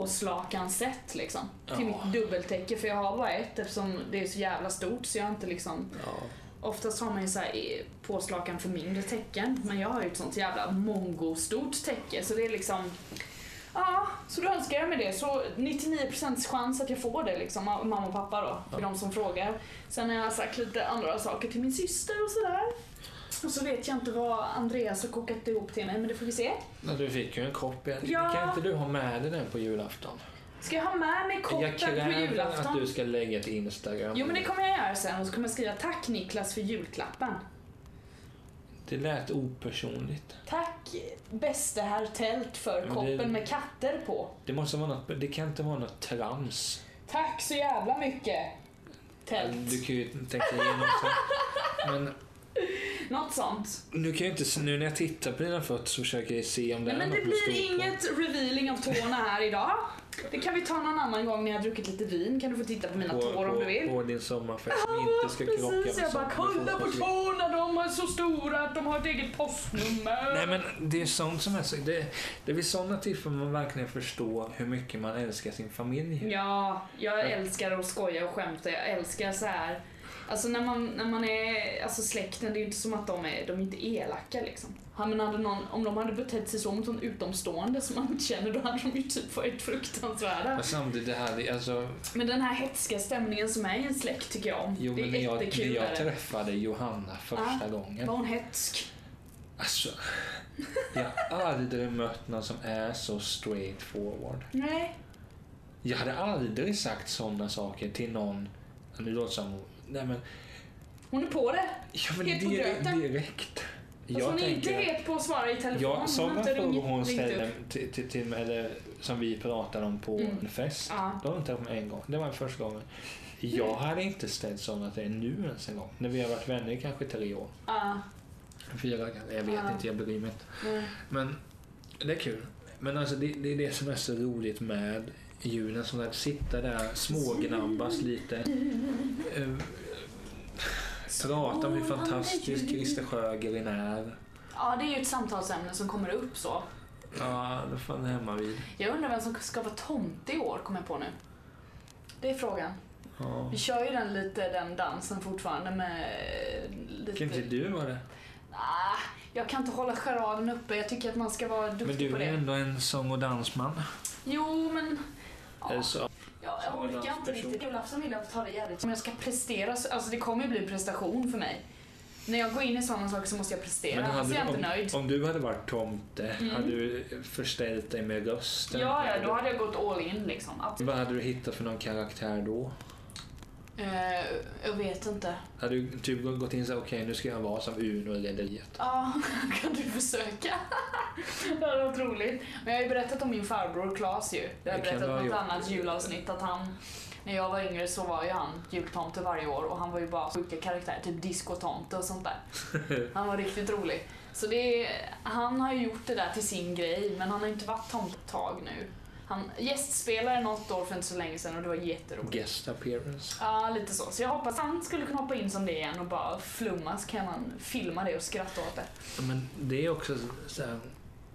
Speaker 2: påslakanset liksom. Till
Speaker 1: Ja.
Speaker 2: mitt dubbeltäcke för jag har bara ett eftersom det är så jävla stort så jag har inte liksom
Speaker 1: Ja.
Speaker 2: Oftast har man ju så här eh, påslakan för mindre tecken, men jag har ju ett sånt jävla mongo-stort täcke så det är liksom... Ja, så då önskar jag mig det. Så 99% chans att jag får det liksom, av mamma och pappa då, för
Speaker 1: Ja.
Speaker 2: de som frågar. Sen har jag sagt lite andra saker till min syster och sådär. Och så vet jag inte vad Andreas har kokat ihop till mig, men det får vi se.
Speaker 1: Men du fick ju en kopp. igen.
Speaker 2: Ja.
Speaker 1: Kan inte du ha med dig den på julafton?
Speaker 2: Ska jag ha med mig
Speaker 1: Jag
Speaker 2: koppen på
Speaker 1: kräver
Speaker 2: julafton?
Speaker 1: att du ska lägga ett Instagram.
Speaker 2: Jo men det kommer jag göra sen och så kommer jag skriva tack Niklas för julklappen.
Speaker 1: Det lät opersonligt.
Speaker 2: Tack bäste herr Tält för
Speaker 1: Men
Speaker 2: koppen
Speaker 1: det-
Speaker 2: med katter på.
Speaker 1: Det, måste vara något, det kan inte vara något trams.
Speaker 2: Tack så jävla mycket Tält.
Speaker 1: Du kan ju tänka igenom sen. Men
Speaker 2: Något sånt.
Speaker 1: nu kan jag inte, se- nu när jag tittar på dina fötter så försöker jag se om det
Speaker 2: Nej,
Speaker 1: är
Speaker 2: men
Speaker 1: något
Speaker 2: det
Speaker 1: du står
Speaker 2: blir
Speaker 1: på.
Speaker 2: inget revealing av tårna här idag. Det kan vi ta någon annan gång när jag har druckit lite vin. Kan du få titta på mina tår om du vill.
Speaker 1: På din sommarfest som inte ska krocka
Speaker 2: Precis, jag bara
Speaker 1: sommar-
Speaker 2: kolla på tårna, de är så stora att de har ett eget postnummer.
Speaker 1: Nej men det är sånt som är så, det, det är vid sådana tillfällen man verkligen förstår hur mycket man älskar sin familj.
Speaker 2: Ja, jag älskar att skoja och skämta. Jag älskar så här. Alltså när man, när man är, alltså släkten, det är ju inte som att de är, de är inte elaka liksom. Ja, men hade någon, om de hade betett sig så mot någon utomstående som man inte känner, då hade de ju typ varit fruktansvärda.
Speaker 1: Men samtidigt det här, det, alltså,
Speaker 2: Men den här hetska stämningen som är i en släkt tycker jag om.
Speaker 1: jo,
Speaker 2: det
Speaker 1: men när
Speaker 2: är
Speaker 1: jag, när
Speaker 2: jättekul.
Speaker 1: jag
Speaker 2: är det.
Speaker 1: träffade Johanna första gången.
Speaker 2: Var hon hetsk?
Speaker 1: Alltså, jag har aldrig mött någon som är så straight forward.
Speaker 2: Nej.
Speaker 1: Jag hade aldrig sagt sådana saker till någon, nu låter det som, nej men,
Speaker 2: Hon är på det.
Speaker 1: ja, men
Speaker 2: Het på gröten.
Speaker 1: direkt.
Speaker 2: Fast hon Alltså, är inte het på att svara i telefon.
Speaker 1: Ja,
Speaker 2: har
Speaker 1: sådana
Speaker 2: inte
Speaker 1: frågor
Speaker 2: ringt-
Speaker 1: hon
Speaker 2: ringt
Speaker 1: ställde
Speaker 2: upp.
Speaker 1: till, till, till mig, eller som vi pratade om på
Speaker 2: Mm.
Speaker 1: en fest.
Speaker 2: Ja.
Speaker 1: Då har hon tagit mig en gång. Det var första gången. Jag hade inte ställt sådana till nu ens en gång. När vi har varit vänner i kanske tre år.
Speaker 2: Ja.
Speaker 1: Fyra kanske. Jag vet
Speaker 2: Ja.
Speaker 1: inte, jag bryr mig inte.
Speaker 2: nej.
Speaker 1: Men det är kul. Men alltså det, det är det som är så roligt med julen. Som att sitta där smågnabbas
Speaker 2: Mm.
Speaker 1: lite. Eh, Prata om hur fantastisk Christer Sjögren är.
Speaker 2: Ja, det är ju ett samtalsämne som kommer upp så.
Speaker 1: Ja, då får han hemma vid.
Speaker 2: Jag undrar vem som ska vara tomte i år, kommer jag på nu. Det är frågan.
Speaker 1: Ja.
Speaker 2: Vi kör ju den lite, den dansen fortfarande med lite...
Speaker 1: Kan inte du vara det?
Speaker 2: Ah, jag kan inte hålla charaden uppe. Jag tycker att man ska vara duktig
Speaker 1: Men du
Speaker 2: på
Speaker 1: är
Speaker 2: det.
Speaker 1: ändå en sång och dansman.
Speaker 2: Jo, men...
Speaker 1: Eller
Speaker 2: Ja,
Speaker 1: så-
Speaker 2: jag, jag orkar inte riktigt. Julafton vill jag ta det jävligt. Om jag ska prestera, så- alltså det kommer ju bli en prestation för mig. När jag går in i sådana saker så måste jag prestera,
Speaker 1: Men
Speaker 2: annars är jag
Speaker 1: hade,
Speaker 2: inte
Speaker 1: om,
Speaker 2: nöjd.
Speaker 1: om du hade varit tomte,
Speaker 2: Mm.
Speaker 1: hade du förställt dig med rösten?
Speaker 2: Ja, ja, då hade jag gått all in liksom. Att,
Speaker 1: Vad hade du hittat för någon karaktär då? Mm.
Speaker 2: eh, jag vet inte.
Speaker 1: Hade du typ gått in och okej nu ska jag vara som Uno i Rederiet?
Speaker 2: Ja, kan du försöka? det hade varit roligt. Men jag har ju berättat om min farbror Klas ju. Jag har
Speaker 1: Det kan
Speaker 2: berättat
Speaker 1: du ha
Speaker 2: om något
Speaker 1: gjort.
Speaker 2: annat julavsnitt att han, när jag var yngre så var ju han jultomte varje år och han var ju bara sjuka karaktärer, typ diskotomte och sånt där. Han var riktigt rolig. Så det, han har ju gjort det där till sin grej, men han har ju inte varit tomte ett tag nu. Han gästspelade något år för inte så länge sedan och det var jätteroligt.
Speaker 1: Guest appearance.
Speaker 2: Ja, lite så. Så jag hoppas han skulle kunna hoppa in som det igen och bara flumma så kan man filma det och skratta åt det.
Speaker 1: Men det är också så här,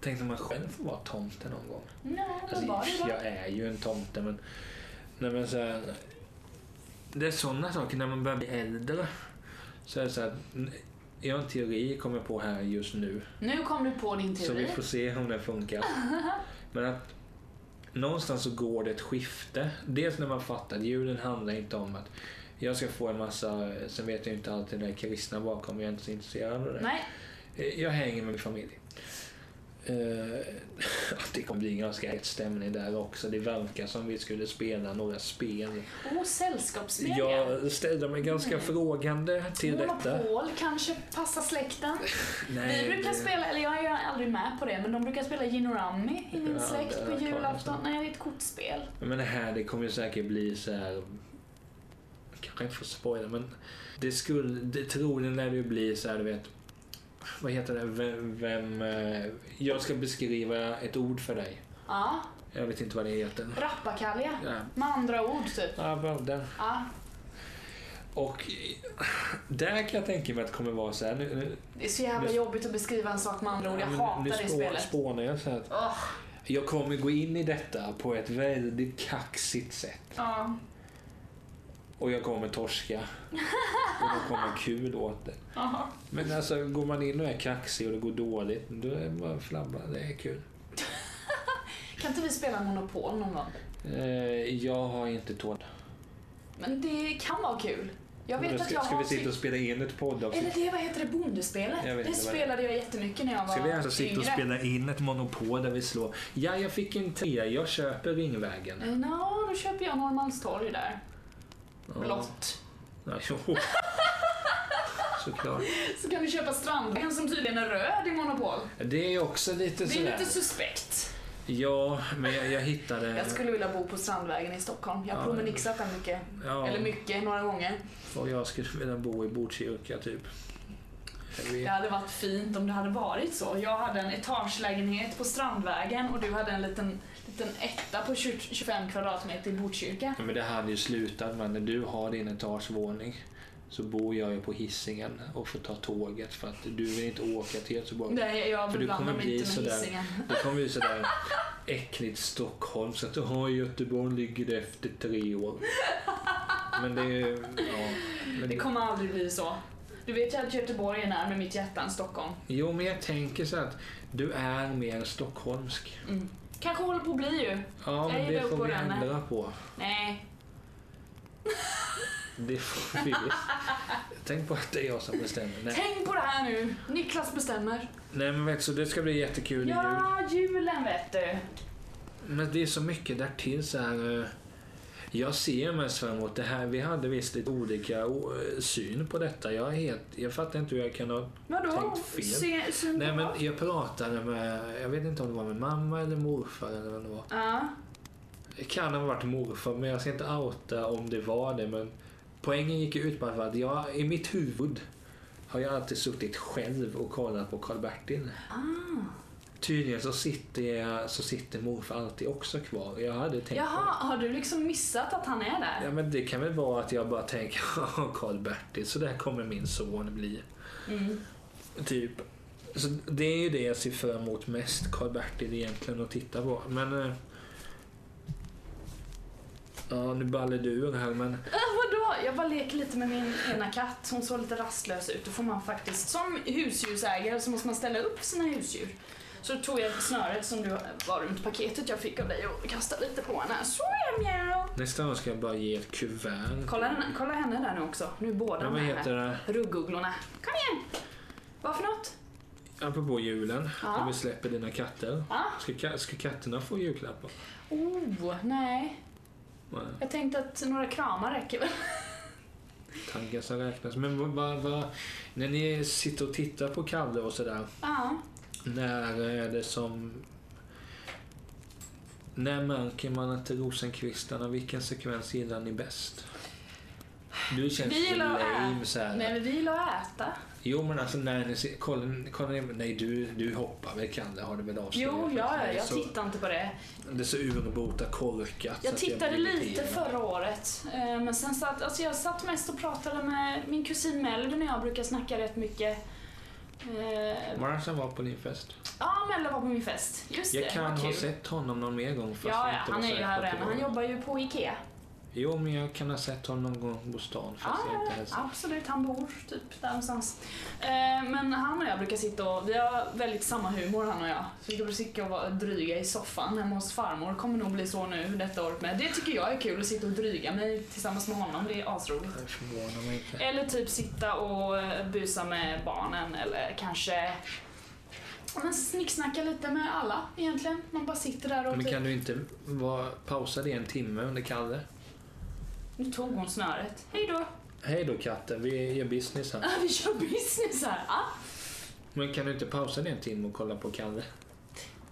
Speaker 1: tänk om man själv får vara tomte någon gång.
Speaker 2: Nej,
Speaker 1: Alltså,
Speaker 2: men var det bara...
Speaker 1: jag är ju en tomte men... Nej, men så här, det är sådana saker när man börjar bli äldre. Så är det så här, n- jag har en teori kommer jag på här just nu.
Speaker 2: Nu kom du på din
Speaker 1: Så vi
Speaker 2: teori.
Speaker 1: får se om den funkar. Men att någonstans så går det ett skifte. Dels när man fattar att julen handlar inte om att jag ska få en massa, sen vet jag inte alltid det där kristna bakom, jag är inte så intresserad av det.
Speaker 2: Nej,
Speaker 1: Jag hänger med min familj. Eh, det kommer bli ganska rätt stämning där också. Det verkar som vi skulle spela några spel.
Speaker 2: oh, sällskapsspel ja.
Speaker 1: Jag ställer mig ganska
Speaker 2: Mm.
Speaker 1: frågande till detta.
Speaker 2: Monopol kanske passar släkten.
Speaker 1: Nej,
Speaker 2: Vi brukar
Speaker 1: det-
Speaker 2: spela, eller jag är aldrig med på det, men de brukar spela gin och rummy i min
Speaker 1: Ja, det
Speaker 2: släkt på
Speaker 1: har jag
Speaker 2: julafton.
Speaker 1: klarat.
Speaker 2: Nej, det är ett kortspel.
Speaker 1: Men det här det kommer ju säkert bli så här... Kanske inte får spoila men det skulle, det, troligen lär det ju bli så här du vet. Vad heter det? Vem, vem, eh, jag ska beskriva ett ord för dig.
Speaker 2: Ja,
Speaker 1: Jag vet inte vad det heter.
Speaker 2: rappakalja.
Speaker 1: Ja,
Speaker 2: Med andra ord, typ.
Speaker 1: ja bra, där.
Speaker 2: Ja,
Speaker 1: Och där kan jag tänka mig att det kommer vara så här. Nu, nu,
Speaker 2: det är så jävla
Speaker 1: Nu-
Speaker 2: jobbigt att beskriva en sak med andra ord. Jag
Speaker 1: nu-
Speaker 2: hatar
Speaker 1: nu
Speaker 2: det
Speaker 1: spå-
Speaker 2: spelet.
Speaker 1: spånar jag så här att
Speaker 2: Åh,
Speaker 1: jag kommer gå in i detta på ett väldigt kaxigt sätt.
Speaker 2: ja.
Speaker 1: Och jag kommer torska. Och det kommer kul åt det.
Speaker 2: Aha.
Speaker 1: Men alltså går man in och är kaxig och det går dåligt, då är det bara att flabba. Det är kul.
Speaker 2: Kan inte vi spela Monopol någon gång?
Speaker 1: Eh, jag har inte tål.
Speaker 2: Men det kan vara kul. Jag vet
Speaker 1: Men då
Speaker 2: att
Speaker 1: ska,
Speaker 2: jag
Speaker 1: ska
Speaker 2: har
Speaker 1: vi sitta och spela in ett
Speaker 2: Eller
Speaker 1: poddavsnitt?
Speaker 2: det, vad heter det, Bondespelet?
Speaker 1: Jag vet
Speaker 2: Det
Speaker 1: inte vad det är.
Speaker 2: spelade jag jättemycket när jag var
Speaker 1: Ska vi alltså sitta
Speaker 2: yngre.
Speaker 1: och spela in ett monopol där vi slår Ja, jag fick en trea, jag köper Ringvägen.
Speaker 2: Eh, Nå, då köper jag Norrmalmstorg där.
Speaker 1: Ja.
Speaker 2: Blått.
Speaker 1: Ja, jo. Såklart.
Speaker 2: Så kan vi köpa Strandvägen som tydligen är röd i Monopol.
Speaker 1: Det är också lite
Speaker 2: Det är
Speaker 1: sådär.
Speaker 2: lite suspekt.
Speaker 1: Ja, men jag, jag hittade...
Speaker 2: Jag skulle vilja bo på Strandvägen i Stockholm. Jag har
Speaker 1: Eh. Ja,
Speaker 2: promenixat där mycket.
Speaker 1: ja,
Speaker 2: Eller mycket, några gånger.
Speaker 1: Och jag skulle vilja bo i Botkyrka typ. Jag
Speaker 2: Det
Speaker 1: vet.
Speaker 2: hade varit fint om det hade varit så. Jag hade en etagelägenhet på Strandvägen och du hade en liten, liten etta på 20 25 kvadratmeter i Botkyrka.
Speaker 1: Ja, men det hade ju slutat men när du har din etagevåning så bor jag ju på hissingen och får ta tåget för att du vill inte åka till Göteborg.
Speaker 2: Nej, jag
Speaker 1: För du
Speaker 2: blandar
Speaker 1: kommer
Speaker 2: mig
Speaker 1: bli
Speaker 2: inte med
Speaker 1: sådär.
Speaker 2: Hisingen.
Speaker 1: Det kommer ju sådär äckligt Stockholm så att "Åh, i Göteborg ligger det efter tre år. Men det är ju- ja. Men,
Speaker 2: Det kommer aldrig bli så. Du vet ju att Göteborg är närmare mitt hjärta än Stockholm.
Speaker 1: Jo men jag tänker så att du är mer stockholmsk.
Speaker 2: Mm. Kanske håller på att bli ju.
Speaker 1: Ja
Speaker 2: Jag
Speaker 1: men det
Speaker 2: gillar
Speaker 1: får vi
Speaker 2: upprörande.
Speaker 1: ändra på.
Speaker 2: Nej.
Speaker 1: Det får vi visst. Tänk på att det är jag som bestämmer. Nej.
Speaker 2: Tänk på det här nu. Niklas bestämmer.
Speaker 1: Nej men vet du, så det ska bli jättekul i jul.
Speaker 2: Ja, julen vet du.
Speaker 1: Men det är så mycket därtill så här. eh, Jag ser mest fram emot det här. Vi hade visst lite olika o- eh, syn på detta. Jag, är helt, jag fattar inte hur jag kan ha...
Speaker 2: Vadå?
Speaker 1: Tänkt fel.
Speaker 2: Se, se
Speaker 1: Nej men jag pratade med, jag vet inte om det var med mamma eller morfar eller vad det var.
Speaker 2: Ja. Ah.
Speaker 1: Det kan ha varit morfar men jag ska inte outa om det var det. Men poängen gick ju ut på att jag, i mitt huvud har jag alltid suttit själv och kollat på Karl-Bertil.
Speaker 2: Ah.
Speaker 1: Tydligen så sitter, jag, så sitter morfar alltid också kvar. Jag hade tänkt på det.
Speaker 2: Jaha, har du liksom missat att han är där?
Speaker 1: Ja men det kan väl vara att jag bara tänker Karl-Bertil, så där kommer min son bli.
Speaker 2: Mm.
Speaker 1: Typ. Så det är ju det jag ser fram emot mest, Karl-Bertil egentligen att titta på. Men... eh, Ja, nu baller du ur här men...
Speaker 2: Äh, vadå? Jag bara leker lite med min ena katt. Hon såg lite rastlös ut. Då får man faktiskt, som husdjursägare så måste man ställa upp sina husdjur. Så då tog jag snöret som du var runt paketet jag fick av dig och kastade lite på henne. Så ja, mjau.
Speaker 1: Nästa gång ska jag bara ge ett kuvert.
Speaker 2: Kolla, henne- kolla henne där nu också. Nu är båda
Speaker 1: Ja, vad
Speaker 2: med
Speaker 1: heter
Speaker 2: här.
Speaker 1: det?
Speaker 2: Ruggugglorna. Kom igen! Vad för något?
Speaker 1: Apropå julen,
Speaker 2: Ja.
Speaker 1: när vi släpper dina katter.
Speaker 2: Ja.
Speaker 1: Ska, ka- ska katterna få julklappar?
Speaker 2: Oh, nej.
Speaker 1: Nej,
Speaker 2: Jag tänkte att några kramar räcker väl.
Speaker 1: Tankar som räknas. Men vad, vad, vad, när ni sitter och tittar på Kalle och sådär.
Speaker 2: Ja.
Speaker 1: När är det som... När märker man att det är rosenkvistarna, vilken sekvens gillar ni bäst? Du känns
Speaker 2: Vi
Speaker 1: så
Speaker 2: gillar att
Speaker 1: lame
Speaker 2: äta.
Speaker 1: så här.
Speaker 2: Nej, men vi gillar att äta.
Speaker 1: Jo men alltså när ni ser, kollar, kollar ni, nej du, du hoppar väl Kalle har du väl avslöjat?
Speaker 2: Jo, ja,
Speaker 1: Det är
Speaker 2: jag
Speaker 1: så-
Speaker 2: tittar inte på det.
Speaker 1: Det är så urbota korkat. så
Speaker 2: Jag
Speaker 1: att
Speaker 2: tittade
Speaker 1: blir
Speaker 2: lite
Speaker 1: irriterad.
Speaker 2: förra året. eh, Men sen satt, alltså jag satt mest och pratade med min kusin Melvin och jag brukar snacka rätt mycket. Eh,
Speaker 1: Var han som var på din fest?
Speaker 2: Ja, Melvin var på min fest. Just det,
Speaker 1: Jag kan
Speaker 2: vad
Speaker 1: ha
Speaker 2: kul.
Speaker 1: sett honom någon mer gång. fast
Speaker 2: Ja,
Speaker 1: jag
Speaker 2: ja,
Speaker 1: inte
Speaker 2: han
Speaker 1: var
Speaker 2: är ju
Speaker 1: säker
Speaker 2: här
Speaker 1: på
Speaker 2: än.
Speaker 1: det.
Speaker 2: Han jobbar ju på Ikea.
Speaker 1: Jo men jag kan ha sett honom någon gång på stan fast
Speaker 2: Ja,
Speaker 1: jag inte hälsade.
Speaker 2: Absolut, han bor typ där någonstans. Eh, men han och jag brukar sitta och, vi har väldigt samma humor han och jag. Så vi brukar sitta och vara dryga i soffan hemma hos farmor. Kommer nog bli så nu detta året med. Det tycker jag är kul, att sitta och dryga mig tillsammans med honom. Det är asroligt.
Speaker 1: Det förvånar mig inte.
Speaker 2: Eller typ sitta och eh, busa med barnen eller kanske ja, men snicksnacka lite med alla egentligen. Man bara sitter där och
Speaker 1: Men
Speaker 2: typ,
Speaker 1: kan du inte vara, pausa det en timme under Kalle?
Speaker 2: nu tog hon snöret. Hej då!
Speaker 1: Hej då katten, vi gör business här.
Speaker 2: Vi kör business här! Ah.
Speaker 1: Men kan du inte pausa det en timme och kolla på Kalle?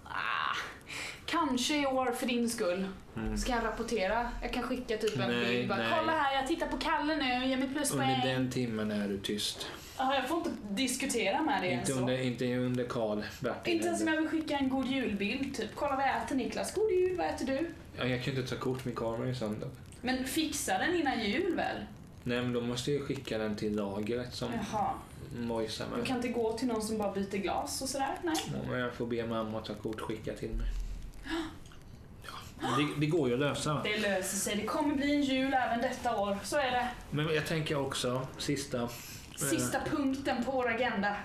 Speaker 2: Ah, kanske i år för din skull.
Speaker 1: Mm.
Speaker 2: Ska jag rapportera? Jag kan skicka typ en
Speaker 1: Nej,
Speaker 2: bild. Bara,
Speaker 1: nej.
Speaker 2: Kolla här, jag tittar på Kalle nu, ge mig
Speaker 1: Under
Speaker 2: pluspoäng.
Speaker 1: den timmen är du tyst.
Speaker 2: Jaha, jag får inte diskutera med dig
Speaker 1: Inte
Speaker 2: ens
Speaker 1: under,
Speaker 2: så.
Speaker 1: inte under Karl, Bertil.
Speaker 2: Inte ens om
Speaker 1: eller-
Speaker 2: jag vill skicka en god julbild, typ. Kolla vad jag äter Niklas. God jul, vad äter du?
Speaker 1: Ja, jag kan ju inte ta kort, min kamera är sönder.
Speaker 2: Men fixa den innan jul väl?
Speaker 1: Nej men då måste jag ju skicka den till lagret som
Speaker 2: Jaha.
Speaker 1: mojsar
Speaker 2: Du
Speaker 1: med.
Speaker 2: kan inte gå till någon som bara byter glas och sådär? Nej.
Speaker 1: Ja, men jag får be mamma att ta kort skicka till mig. Ja, det, det går ju att lösa. va?
Speaker 2: Det löser sig. Det kommer bli en jul även detta år. Så är det.
Speaker 1: Men jag tänker också, sista. eh,
Speaker 2: Sista punkten på vår agenda.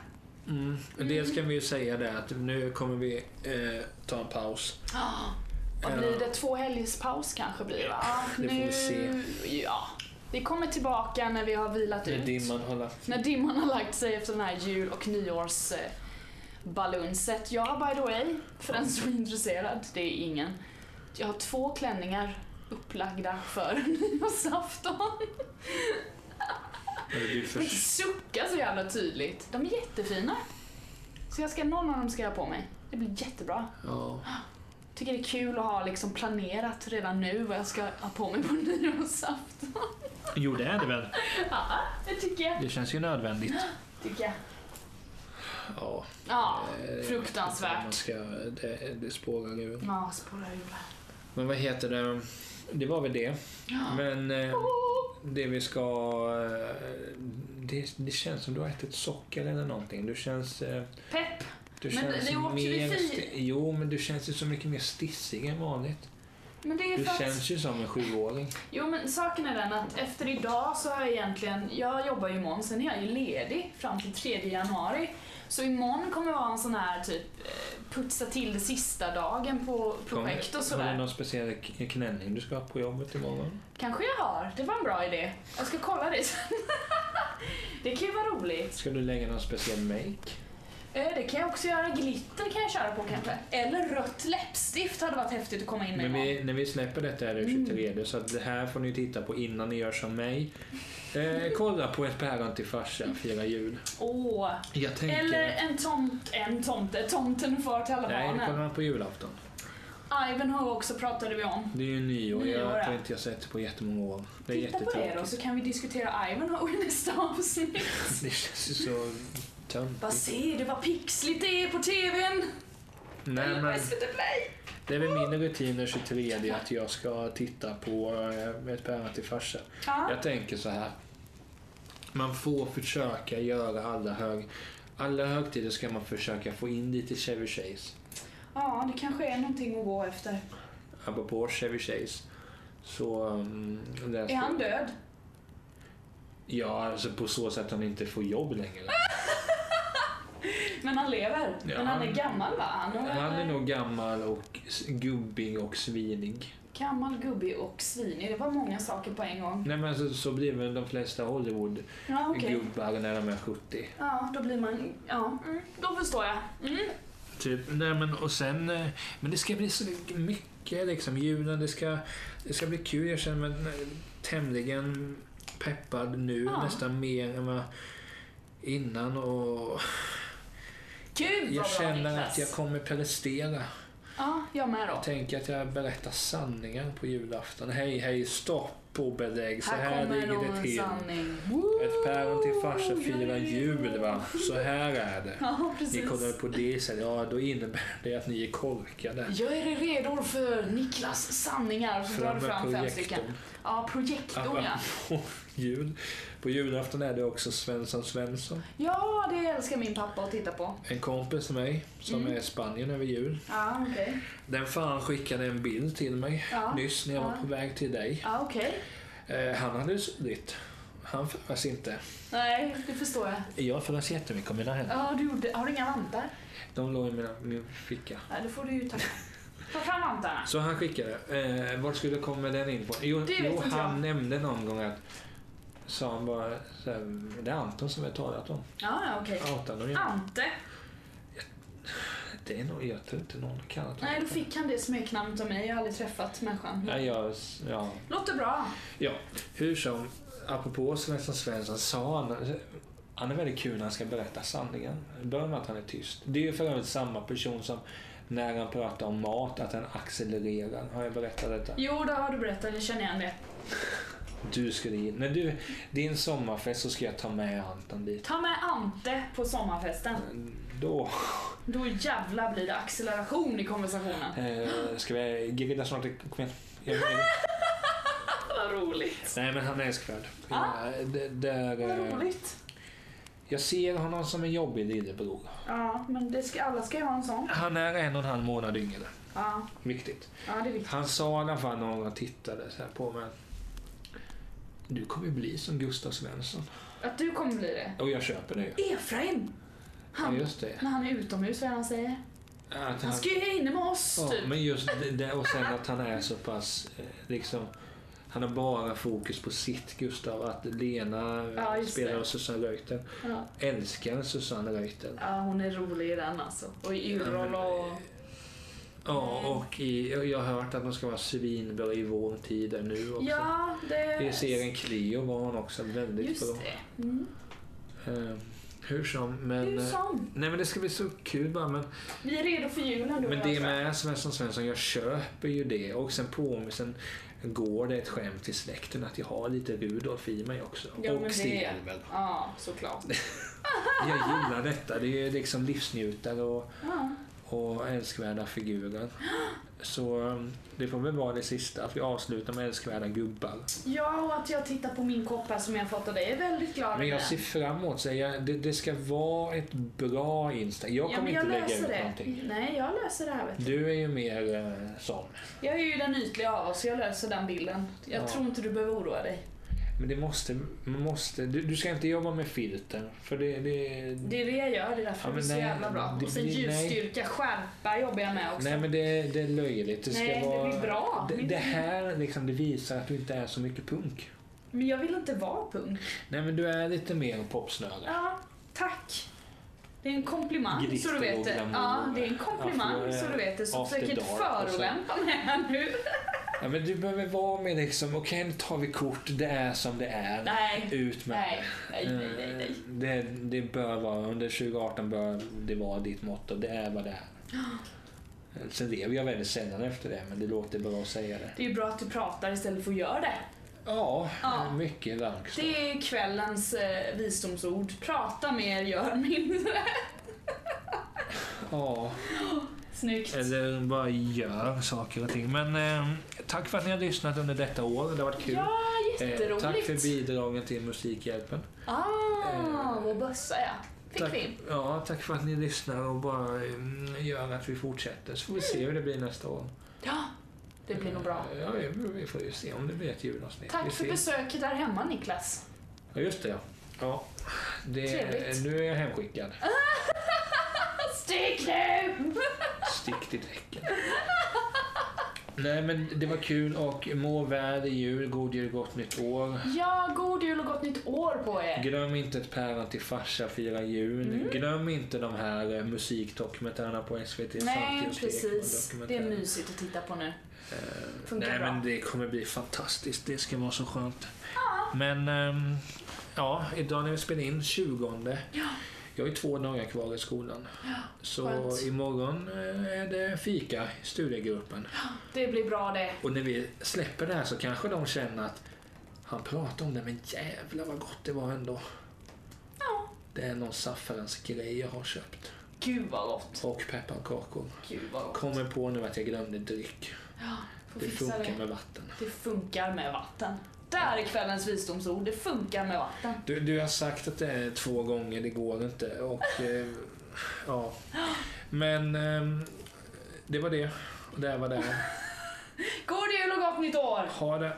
Speaker 1: Mm. Dels kan vi ju säga det att nu kommer vi eh, ta en paus. Eh.
Speaker 2: Ah, Vad blir det? Två helgers paus kanske blir det va?
Speaker 1: Det får vi se.
Speaker 2: Ja. Vi kommer tillbaka när vi har vilat
Speaker 1: När
Speaker 2: ut.
Speaker 1: Eh, dimman har lagt
Speaker 2: När dimman har lagt sig efter den här jul och nyårsbalunset. Jag har by the way, för den som är intresserad, det är ingen. Jag har två klänningar upplagda för nyårsafton.
Speaker 1: Men Du
Speaker 2: Men
Speaker 1: för...
Speaker 2: sucka så jävla tydligt. De är jättefina. Så jag ska, någon av dem ska jag ha på mig. Det blir jättebra.
Speaker 1: Ja.
Speaker 2: Tycker det är kul att ha liksom planerat redan nu vad jag ska ha på mig på nyårsafton.
Speaker 1: Jo, det är det väl.
Speaker 2: Ja, det tycker jag.
Speaker 1: Det känns ju nödvändigt.
Speaker 2: Tycker jag.
Speaker 1: Ja.
Speaker 2: Ja,
Speaker 1: eh, Man
Speaker 2: fruktansvärt.
Speaker 1: ska, det, det spårar nu.
Speaker 2: Ja, spårar ur det.
Speaker 1: Men vad heter det? Det var väl det. Men eh, det vi ska... eh, Det, det känns som du har ätit socker eller någonting. Du känns... eh,
Speaker 2: Pepp!
Speaker 1: Du
Speaker 2: Men
Speaker 1: känns
Speaker 2: det åkte vi
Speaker 1: mer...
Speaker 2: fi-
Speaker 1: sti- Jo, men du känns ju så mycket mer stissig än vanligt.
Speaker 2: Men det är
Speaker 1: Du
Speaker 2: för att...
Speaker 1: känns ju som en sjuåring.
Speaker 2: Jo men saken är den att efter idag så har jag egentligen... Jag jobbar ju imorgon, sen är jag ju ledig fram till 3 januari. Så imorgon kommer vara en sån här typ eh, putsa till det sista dagen på projekt och
Speaker 1: Har du
Speaker 2: sådär.
Speaker 1: någon speciell k- klänning du ska ha på jobbet imorgon?
Speaker 2: Kanske jag har, det var en bra idé. Jag ska kolla det sen. Det kan ju vara roligt.
Speaker 1: Ska du lägga någon speciell make?
Speaker 2: Eh, Det kan jag också göra. Glitter kan jag köra på kanske. Eller rött läppstift hade varit häftigt att komma in med Mm.
Speaker 1: Men
Speaker 2: imorgon.
Speaker 1: vi, när vi släpper detta är det 23 så att det här får ni titta på innan ni gör som mig. Eh, kolla på ett päron till farsa, fira jul.
Speaker 2: Åh!
Speaker 1: Jag tänker...
Speaker 2: Eller en tomt... En tomte. Tomten far till alla
Speaker 1: Nej, det
Speaker 2: barnen.
Speaker 1: kollar man på julafton.
Speaker 2: Ivanhoe också pratade vi om.
Speaker 1: Det är ju nyår,
Speaker 2: Nyår,
Speaker 1: jag
Speaker 2: ja.
Speaker 1: tror inte jag sett det på jättemånga år. Det är
Speaker 2: Titta på det då
Speaker 1: jättetråkigt.
Speaker 2: så kan vi diskutera Ivanhoe i nästa avsnitt.
Speaker 1: Det känns ju så
Speaker 2: Vad
Speaker 1: töntigt.
Speaker 2: ser du vad pixligt det är på TVn?
Speaker 1: Nej,
Speaker 2: Eller
Speaker 1: men
Speaker 2: på SVT Play?
Speaker 1: det är väl min rutin den 23 att jag ska titta på eh, ett päron till farsa.
Speaker 2: Ja.
Speaker 1: Jag tänker så här. Man får försöka göra alla hög... Alla högtider ska man försöka få in lite Chevy Chase.
Speaker 2: ja, det kanske är någonting att gå efter.
Speaker 1: apropå Chevy Chase. Så um, läste
Speaker 2: Är han död?
Speaker 1: Ja, alltså på så sätt att han inte får jobb längre.
Speaker 2: Men han lever.
Speaker 1: Ja,
Speaker 2: Men han är
Speaker 1: han-
Speaker 2: gammal va? Han är,
Speaker 1: Han är nog gammal och s- gubbig och svinig.
Speaker 2: Gammal gubbe och svinig. Det var många saker på en gång.
Speaker 1: Nej men alltså, så blir väl de flesta Hollywood-gubbar
Speaker 2: Ja, okej.
Speaker 1: när de är 70.
Speaker 2: Ja, då blir man... Ja, mm, då förstår jag. Mm.
Speaker 1: Typ, nej men och sen, eh, men det ska bli så mycket liksom julen, det ska, det ska bli kul. Jag känner mig eh, tämligen peppad nu,
Speaker 2: Ja.
Speaker 1: nästan mer än vad innan och
Speaker 2: Gud vad
Speaker 1: jag
Speaker 2: bra
Speaker 1: känner
Speaker 2: Niklas.
Speaker 1: att jag kommer prestera.
Speaker 2: Ja, jag med då.
Speaker 1: Jag tänker att jag berättar sanningen på julafton. Hej, hej, stopp och belägg. Så här,
Speaker 2: Här kommer
Speaker 1: ligger det
Speaker 2: någon
Speaker 1: till.
Speaker 2: sanning.
Speaker 1: Ett päron till farsa firar
Speaker 2: Woo!
Speaker 1: jul va. Så här är det.
Speaker 2: Ja,
Speaker 1: Ni
Speaker 2: precis.
Speaker 1: kollar på det sen. Ja, då innebär det att ni är korkade.
Speaker 2: Gör er redo för Niklas sanningar. Så Alltså, drar du fram fem stycken. Ja, projektorn ja.
Speaker 1: på jul. På julafton är det också Svensson Svensson.
Speaker 2: Ja, det älskar min pappa att titta på.
Speaker 1: En kompis till mig som
Speaker 2: Mm.
Speaker 1: är i Spanien över jul.
Speaker 2: Ja, okej.
Speaker 1: Den fan skickade en bild till mig
Speaker 2: Ja.
Speaker 1: nyss när jag var
Speaker 2: Ja.
Speaker 1: på väg till dig.
Speaker 2: Ja, okej.
Speaker 1: Eh, han hade suttit. Han föras inte.
Speaker 2: Nej, det förstår jag.
Speaker 1: Jag föras jättemycket om mina händer.
Speaker 2: Ja, du gjorde... Har du inga vantar?
Speaker 1: De låg i mina, min ficka.
Speaker 2: Nej, det får du ju ta. Ta fram vantarna.
Speaker 1: Så han skickade. Eh, vart skulle komma den in på? Jo,
Speaker 2: Det vet
Speaker 1: jo
Speaker 2: inte
Speaker 1: han
Speaker 2: jag.
Speaker 1: nämnde någon gång att sa han bara, så här, det är Anton som vi har talat om.
Speaker 2: Ja, ja, okej.
Speaker 1: Outan honom.
Speaker 2: Ante.
Speaker 1: Det är nog, jag tror inte någon har kallat
Speaker 2: Nej, då fick han det smeknamnet av mig. Jag har aldrig träffat människan.
Speaker 1: Nej, jag, ja.
Speaker 2: Låter bra.
Speaker 1: ja, hur som, apropå Svensson Svensson sa han, han är väldigt kul när han ska berätta sanningen. Det börjar med att han är tyst. Det är ju för övrigt samma person som när han pratar om mat, att han accelererar. Har jag berättat detta?
Speaker 2: Jo, det har du berättat. Jag känner igen det.
Speaker 1: Du skulle in. När du, din sommarfest så ska jag ta med Anton dit.
Speaker 2: Ta med Ante på sommarfesten.
Speaker 1: Då
Speaker 2: Då jävla blir det acceleration i konversationen.
Speaker 1: eh, ska vi grilla snart. Kom igen. Jag vill-
Speaker 2: Vad roligt.
Speaker 1: Nej men han är älskvärd.
Speaker 2: Ah.
Speaker 1: Eh, d- där,
Speaker 2: Vad
Speaker 1: eh,
Speaker 2: roligt.
Speaker 1: jag ser honom som en jobbig lillebror.
Speaker 2: Ja, men det ska, alla ska ju ha en sån.
Speaker 1: Han är en och en halv månad yngre.
Speaker 2: Ja,
Speaker 1: Viktigt.
Speaker 2: ja det är viktigt.
Speaker 1: Han sa i alla fall när någon tittade så här på mig. Du kommer bli som Gustav Svensson.
Speaker 2: Att du kommer bli det.
Speaker 1: Och jag köper det ju.
Speaker 2: Efraim!
Speaker 1: Ja,
Speaker 2: Han,
Speaker 1: just det.
Speaker 2: när han är utomhus, vad är det han säger?
Speaker 1: Att
Speaker 2: Han ska ju inne med oss,
Speaker 1: Ja,
Speaker 2: typ.
Speaker 1: men just det, det och sen att han är så pass eh, liksom Han har bara fokus på sitt Gustav, att Lena eh,
Speaker 2: Ja, just
Speaker 1: spelar
Speaker 2: det.
Speaker 1: av Susanne Reuter.
Speaker 2: Ja.
Speaker 1: Älskar Susanne Reuter. eh,
Speaker 2: ja, hon är rolig i den alltså. Och i Yrrol och... Mm.
Speaker 1: Ja, och i, och jag har hört att man ska vara svinbra i vår tid är nu också.
Speaker 2: Ja, det...
Speaker 1: I serien Cleo var hon också väldigt
Speaker 2: Just
Speaker 1: bra.
Speaker 2: det. Mm.
Speaker 1: Eh, hur som, men...
Speaker 2: Hur
Speaker 1: eh,
Speaker 2: som.
Speaker 1: Nej men det ska bli så kul bara. Men,
Speaker 2: Vi är redo för julen då.
Speaker 1: men det
Speaker 2: Lasse.
Speaker 1: med Svensson Svensson, jag köper ju det. Och sen på sen går det ett skämt till släkten att jag har lite Rudolf i mig också.
Speaker 2: Ja, men
Speaker 1: och
Speaker 2: det-
Speaker 1: Stilvel.
Speaker 2: Ja, såklart.
Speaker 1: Jag gillar detta. Det är liksom livsnjutare och,
Speaker 2: Ja.
Speaker 1: och älskvärda figurer. Så um, det får väl vara det sista, att vi avslutar med älskvärda gubbar.
Speaker 2: ja, och att jag tittar på min kopp här som jag fått av dig är väldigt glad
Speaker 1: Men jag
Speaker 2: över.
Speaker 1: ser fram emot så jag, det. Det ska vara ett bra Insta. Jag
Speaker 2: ja,
Speaker 1: kommer
Speaker 2: men jag
Speaker 1: inte lägga
Speaker 2: löser
Speaker 1: ut
Speaker 2: det.
Speaker 1: någonting.
Speaker 2: Nej, jag löser det här vet du.
Speaker 1: Du är ju mer eh, sån.
Speaker 2: Jag är ju den ytliga av oss, så jag löser den bilden. Jag
Speaker 1: Ja.
Speaker 2: tror inte du behöver oroa dig.
Speaker 1: Men det måste, man måste du, du ska inte jobba med filter. För det, det,
Speaker 2: Det är det jag gör, det är därför
Speaker 1: Ja,
Speaker 2: det är
Speaker 1: men
Speaker 2: så
Speaker 1: nej,
Speaker 2: jävla bra.
Speaker 1: det
Speaker 2: Och sen
Speaker 1: blir-
Speaker 2: ljusstyrka, skärpa jobbar jag med också.
Speaker 1: nej men det, det är löjligt. Det ska
Speaker 2: Nej, det
Speaker 1: vara,
Speaker 2: blir bra.
Speaker 1: Det, det här liksom, det visar att du inte är så mycket punk.
Speaker 2: Men jag vill inte vara punk.
Speaker 1: Nej men du är lite mer popsnöre.
Speaker 2: Ja, tack. Det är en komplimang
Speaker 1: Glitter
Speaker 2: så du vet
Speaker 1: och
Speaker 2: det.
Speaker 1: glamour.
Speaker 2: Ja, det är en komplimang
Speaker 1: Ja, för jag är
Speaker 2: så du vet det. Så
Speaker 1: after
Speaker 2: försök inte
Speaker 1: dark och så.
Speaker 2: förolämpa mig här nu.
Speaker 1: Ja, men du behöver vara med liksom, okej nu tar vi kort, det är som det är.
Speaker 2: Nej,
Speaker 1: Ut med
Speaker 2: nej, nej, nej, nej.
Speaker 1: Eh,
Speaker 2: nej.
Speaker 1: Det, det bör vara, under 2018 bör det vara ditt motto, det är vad det är. Sen lever jag väldigt sällan efter det, men det låter bra att säga det.
Speaker 2: Det är ju bra att du pratar istället för att göra det.
Speaker 1: Ja,
Speaker 2: Ja.
Speaker 1: mycket rank.
Speaker 2: Det är kvällens eh, visdomsord. Prata mer, gör mindre.
Speaker 1: Ja,
Speaker 2: Snyggt.
Speaker 1: eller bara gör saker och ting. Men eh, tack för att ni har lyssnat under detta år. Det har varit kul.
Speaker 2: Ja,
Speaker 1: Eh,
Speaker 2: jätteroligt.
Speaker 1: tack för bidragen till Musikhjälpen.
Speaker 2: Ah,
Speaker 1: Eh,
Speaker 2: vår bössa ja. Fick
Speaker 1: tack,
Speaker 2: vi in.
Speaker 1: ja, tack för att ni lyssnar och bara mm, gör att vi fortsätter. Så får vi se hur det blir nästa år.
Speaker 2: Ja, det blir nog bra.
Speaker 1: Ja, vi- vi får ju se om det blir ett julavsnitt. Eh, vi
Speaker 2: Tack för
Speaker 1: ser.
Speaker 2: besöket där hemma Niklas.
Speaker 1: Ja, just det ja. ja. Det,
Speaker 2: Trevligt.
Speaker 1: nu är jag hemskickad.
Speaker 2: Stick nu!
Speaker 1: Stick ditt häcken. Nej men det var kul och må väl i jul, god jul, gott nytt år.
Speaker 2: Ja, god jul och gott nytt år på er.
Speaker 1: Glöm inte ett päron till farsa fira jul.
Speaker 2: Mm.
Speaker 1: Glöm inte de här eh, musikdokumentärerna på SVT.
Speaker 2: Nej,
Speaker 1: Samtidigt
Speaker 2: precis.
Speaker 1: Ekman
Speaker 2: Det är
Speaker 1: dokumentär.
Speaker 2: mysigt att titta på nu.
Speaker 1: Eh,
Speaker 2: Funkar
Speaker 1: Nej
Speaker 2: bra.
Speaker 1: men det kommer bli fantastiskt. Det ska vara så skönt. Men ehm, ja, idag när vi spelar in 20.
Speaker 2: Ja.
Speaker 1: Jag har ju två dagar kvar i skolan. så
Speaker 2: skönt.
Speaker 1: imorgon eh, är det fika i studiegruppen.
Speaker 2: Det blir bra det.
Speaker 1: Och när vi släpper det här så kanske de känner att han pratar om det men jävlar vad gott det var ändå.
Speaker 2: Ja.
Speaker 1: Det är någon saffransgrej jag har köpt.
Speaker 2: Gud vad gott.
Speaker 1: Och pepparkakor.
Speaker 2: Gud vad gott.
Speaker 1: Kommer på nu att jag glömde dryck.
Speaker 2: Ja, får
Speaker 1: Det
Speaker 2: fixa
Speaker 1: funkar
Speaker 2: det.
Speaker 1: med vatten.
Speaker 2: Det funkar med vatten. Där är kvällens visdomsord. Det funkar med vatten.
Speaker 1: Du, du har sagt att det är två gånger, det går inte. Och, eh, ja. Men ehm, det var det. Och det var det.
Speaker 2: God jul och gott nytt år!
Speaker 1: Ha det.